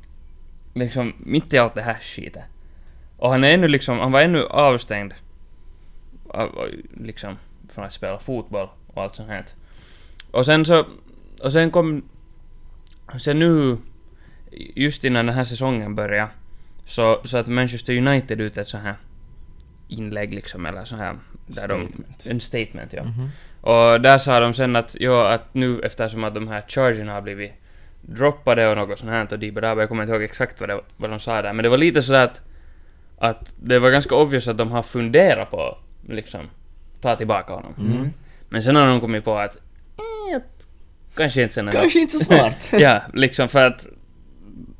Liksom mitt i allt det här skitet. Och han är ännu liksom, han var ännu avstängd. Av, av- liksom från att spela fotboll och allt sånt här. Och sen så, och sen kom, sen nu, just innan den här säsongen började, så, så att Manchester United ut ett så här inlägg liksom, eller så här. Där Statement. De, en statement, ja. Och där sa de sen att, ja, att nu eftersom att de här chargerna har blivit droppade och något sånt här och dibadabe, jag kommer inte ihåg exakt vad, det, vad de sa där, men det var lite sådär att, att det var ganska obvious att de har funderat på att, liksom ta tillbaka honom. Mm. Men sen har de kommit på att, eh, jag- kanske inte sen ändå. Kanske inte så <laughs> smart. <laughs> Ja, liksom för att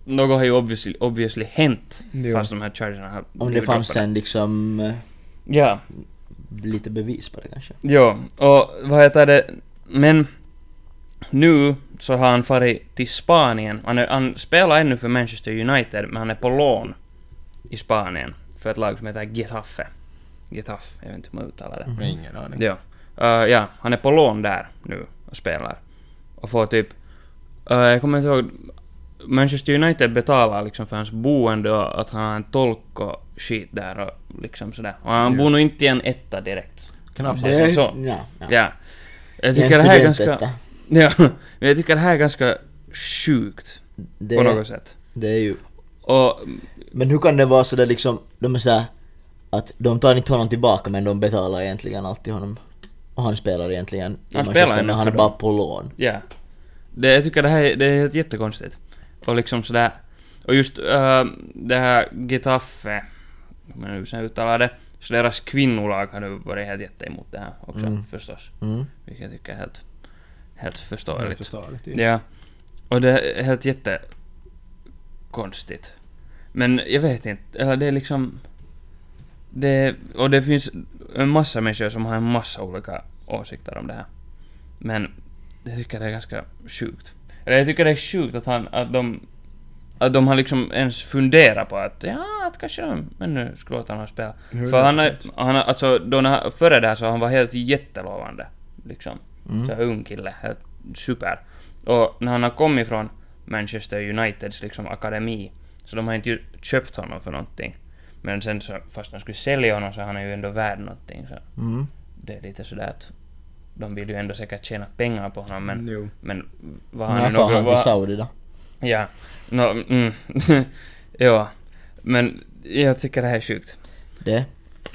något har ju obviously, obviously hänt Jo. fast de här chargerna har Om det blivit fanns droppade. en liksom eh, Ja. lite bevis på det kanske. Ja, och vad heter det, men nu så har han farit till Spanien. Han, är, han spelar ännu för Manchester United, men han är på lån i Spanien för ett lag som heter Getafe. Getafe, jag vet inte hur man uttalar det. Men ingen aning. Ja. Eh, ja, han är på lån där nu och spelar. Och får typ... eh, jag kommer inte ihåg... Manchester United betalar liksom för hans boende och att han har en tolk och skit där och liksom sådär. Och han Ja. bor nog inte i en etta direkt. Knappast. Det är så. Ja, ja. Ja. Jag Det är en tycker det här är ganska... studentetta. Ja, <laughs> men jag tycker det här är ganska sjukt Det, på något sätt. det är ju... Och... Men hur kan det vara sådär liksom, de är såhär att de tar inte honom tillbaka men de betalar egentligen alltid honom. Och han spelar egentligen i spelar Manchester, ändå men han för är bara dem. på lån. Ja. Det, jag tycker det här är, det är helt jättekonstigt. Och liksom sådär... Och just eh, det här Getafe, om jag nu sen uttalar det, så deras kvinnolag har nu varit helt jätte emot det här också Mm. förstås. Mm. Vilket jag tycker är helt, helt Det är förståeligt. förståeligt. Ja. Och det är helt jättekonstigt. Men jag vet inte, eller det är liksom... Det, och det finns en massa människor som har en massa olika åsikter om det här. Men jag tycker det är ganska sjukt. Eller jag tycker det är sjukt att, han, att de... Att de har liksom ens funderat på att ja, att kanske de men nu skulle låta honom spela. För han har, 100%. han har, alltså, då när, han- före det här så han var helt jättelovande. Liksom. Mm. Så här ung kille, helt super. Och när han har kommit från Manchester Uniteds liksom, akademi, så de har inte ju köpt honom för någonting. Men sen så, fast de skulle sälja honom så han är ju ändå värd någonting. Så Mm. det är lite sådär att de vill ju ändå säkert tjäna pengar på honom men... Jo. Men vad han När är far han till något... Saudi då? Ja. Nå, mm. <laughs> ja. Men jag tycker det här är sjukt. Det?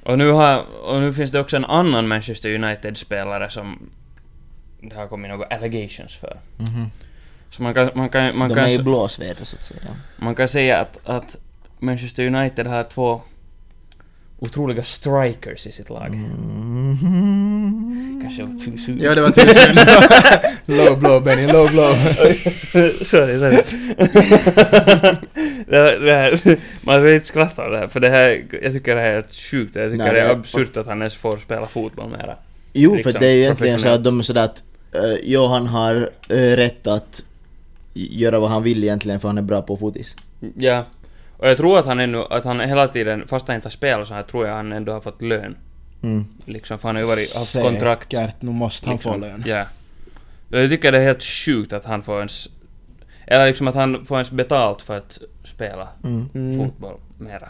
Och nu, har, och nu finns det också en annan Manchester United-spelare som det har kommit några allegations för. Så man kan, man kan, man Mhm. de kan, är i s- blåsväder så att säga. man kan säga att, att Manchester United har två otroliga strikers i sitt lag. Mm. Kanske var tusen. Ja, det var tusen. <laughs> low blow Benny, low blow. sorry, sorry. <laughs> det, här- det här, man ska inte skratta av det här, för det här, jag tycker det här är sjukt. Jag tycker Nej, det det är är- absurt att han ens får spela fotboll mera. Jo, Liksom, för det är ju egentligen så professionellt. att de är sådär att eh, Johan har eh, rätt att göra vad han vill egentligen för han är bra på fotis. Ja. Och jag tror att han ännu, att han hela tiden, fast han inte har spelat så här, tror jag han ändå har fått lön. Mm. Liksom, för han har ju varit, haft kontrakt. Säkert, nu måste han liksom. få lön. Ja. Och Jag tycker det är helt sjukt att han får ens... Eller liksom att han får ens betalt för att spela Mm. Mm, fotboll mera.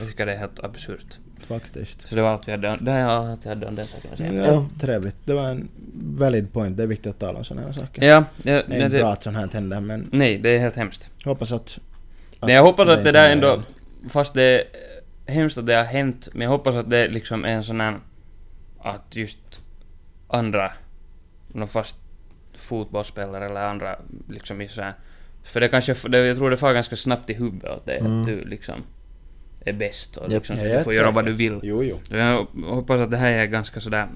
Jag tycker det är helt absurt. faktiskt. Så det var allt vi hade, det är allt jag hade om den saken att säga. Ja, trevligt. Det var en valid point, det är viktigt att tala om sådana här saker. Ja, ja det är nej, inte bra det, att sånt här händer men nej, det är helt hemskt. hoppas att... att Men jag hoppas att det inte där är- ändå, fast det är hemskt att det har hänt, men jag hoppas att det liksom är en sån här, att just andra, nå fast fotbollsspelare eller andra, liksom i så här, för det kanske, det, jag tror det far ganska snabbt i huvudet åt dig, Mm. att du liksom är bäst och Japp. liksom, så Ja, du helt får göra vad du säkert. vill. Jo, jo. Så jag hoppas att det här är ganska sådär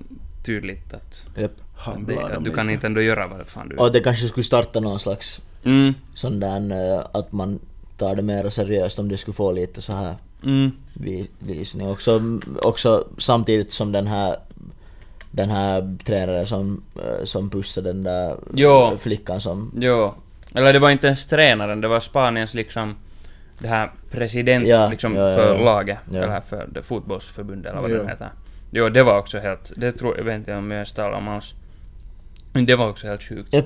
tydligt att, Japp. att, Han det, bladar att du mig kan inte ändå göra vad fan du Och det kanske skulle starta någon slags Mm, sån där eh, att man tar det mer seriöst om det skulle få lite så här mm, vi- visning. Också, också samtidigt som den här den här tränaren som, eh, som pussade den där Ja. flickan som... jo. Eller det var inte ens tränaren, det var Spaniens liksom det här president Ja, liksom ja, ja, för ja. laget, Ja. eller för det fotbollsförbundet eller vad Ja. det heter. Jo, det var också helt, det tror jag vet inte om jag ens talar om alls. Men det var också helt sjukt. Japp.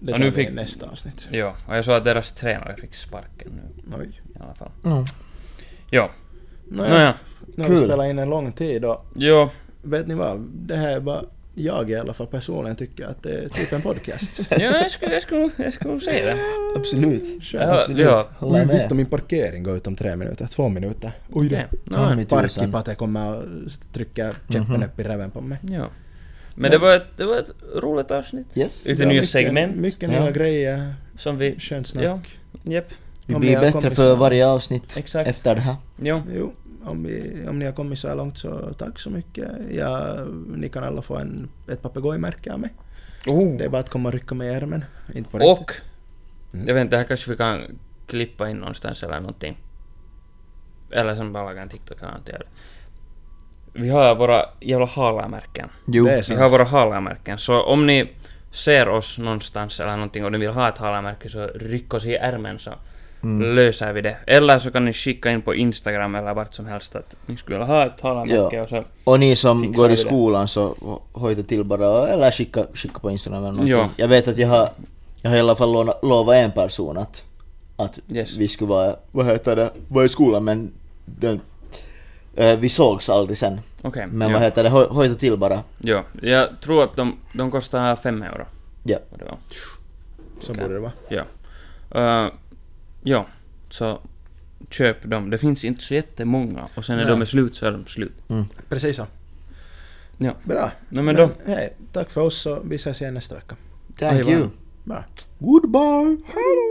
Det Och tar nu vi fick- i nästa avsnitt. Jo, och jag såg att deras tränare fick sparken nu Oj. i alla fall. Mm. Jo, Nåja, nåja. nu har vi Kul. spelat in en lång tid och Jo, vet ni vad? Det här är vad jag i alla fall personligen tycker att det är typ en podcast. <laughs> ja, jag skulle, jag skulle, jag skulle nog säga det. Absolut. Ja, Skönt. ja. Håller Oj, vitt om med. min parkering går ut om tre minuter, två minuter. Oj då. Okej, nåja. Ta mig tusan. Parkipate kommer och trycka käppen Mhm. upp i räven på mig. Ja. Men det var, ett, det var ett roligt avsnitt. Yes. Lite nya segment Mycket Ja. nya grejer. som vi... Skönt snack. Ja. Japp, Vi Om blir jag bättre kommer för så- varje avsnitt exakt. efter det här. Jo. Jo, om, vi, om ni har kommit så här långt så tack så mycket. Ja, ni kan alla få en, ett papegojmärke av mig. Oh. Det är bara att komma och rycka mig i ärmen. Inte på Och, Mm. jag vet inte, det här kanske vi kan klippa in någonstans eller någonting. Eller som bara laga en TikTok eller någonting. Vi har våra jävla halamärken. Jo. Det är så. Vi Sant. har våra halamärken, så om ni ser oss någonstans eller någonting och ni vill ha ett halamärke så ryck oss i ärmen så Mm. löser vi det. Eller så kan ni skicka in på Instagram eller vart som helst att ni skulle vilja ha ett halamärke Ja. och så... Och ni som Fixar går vi i det. skolan så ho- hojta till bara eller skicka, skicka på Instagram eller någonting. Ja. Jag vet att jag har, jag har i alla fall låna- lovat en person att, att Yes. vi skulle vara, vad heter det, vara i skolan men den, eh, vi sågs aldrig sen. Okej. Men ja. vad heter det, ho, hojta till bara. Ja, jag tror att de, de kostar fem euro. Ja. Och det var- Så borde det vara. Ja. Eh, ja, så köp dem. Det finns inte så jättemånga och sen när Nej. de är slut så är de slut. Precis så. Ja. Bra. No, men då. hej, tack för oss och vi ses igen nästa vecka. Thank Aivan. you. Bra. Goodbye. Hej då.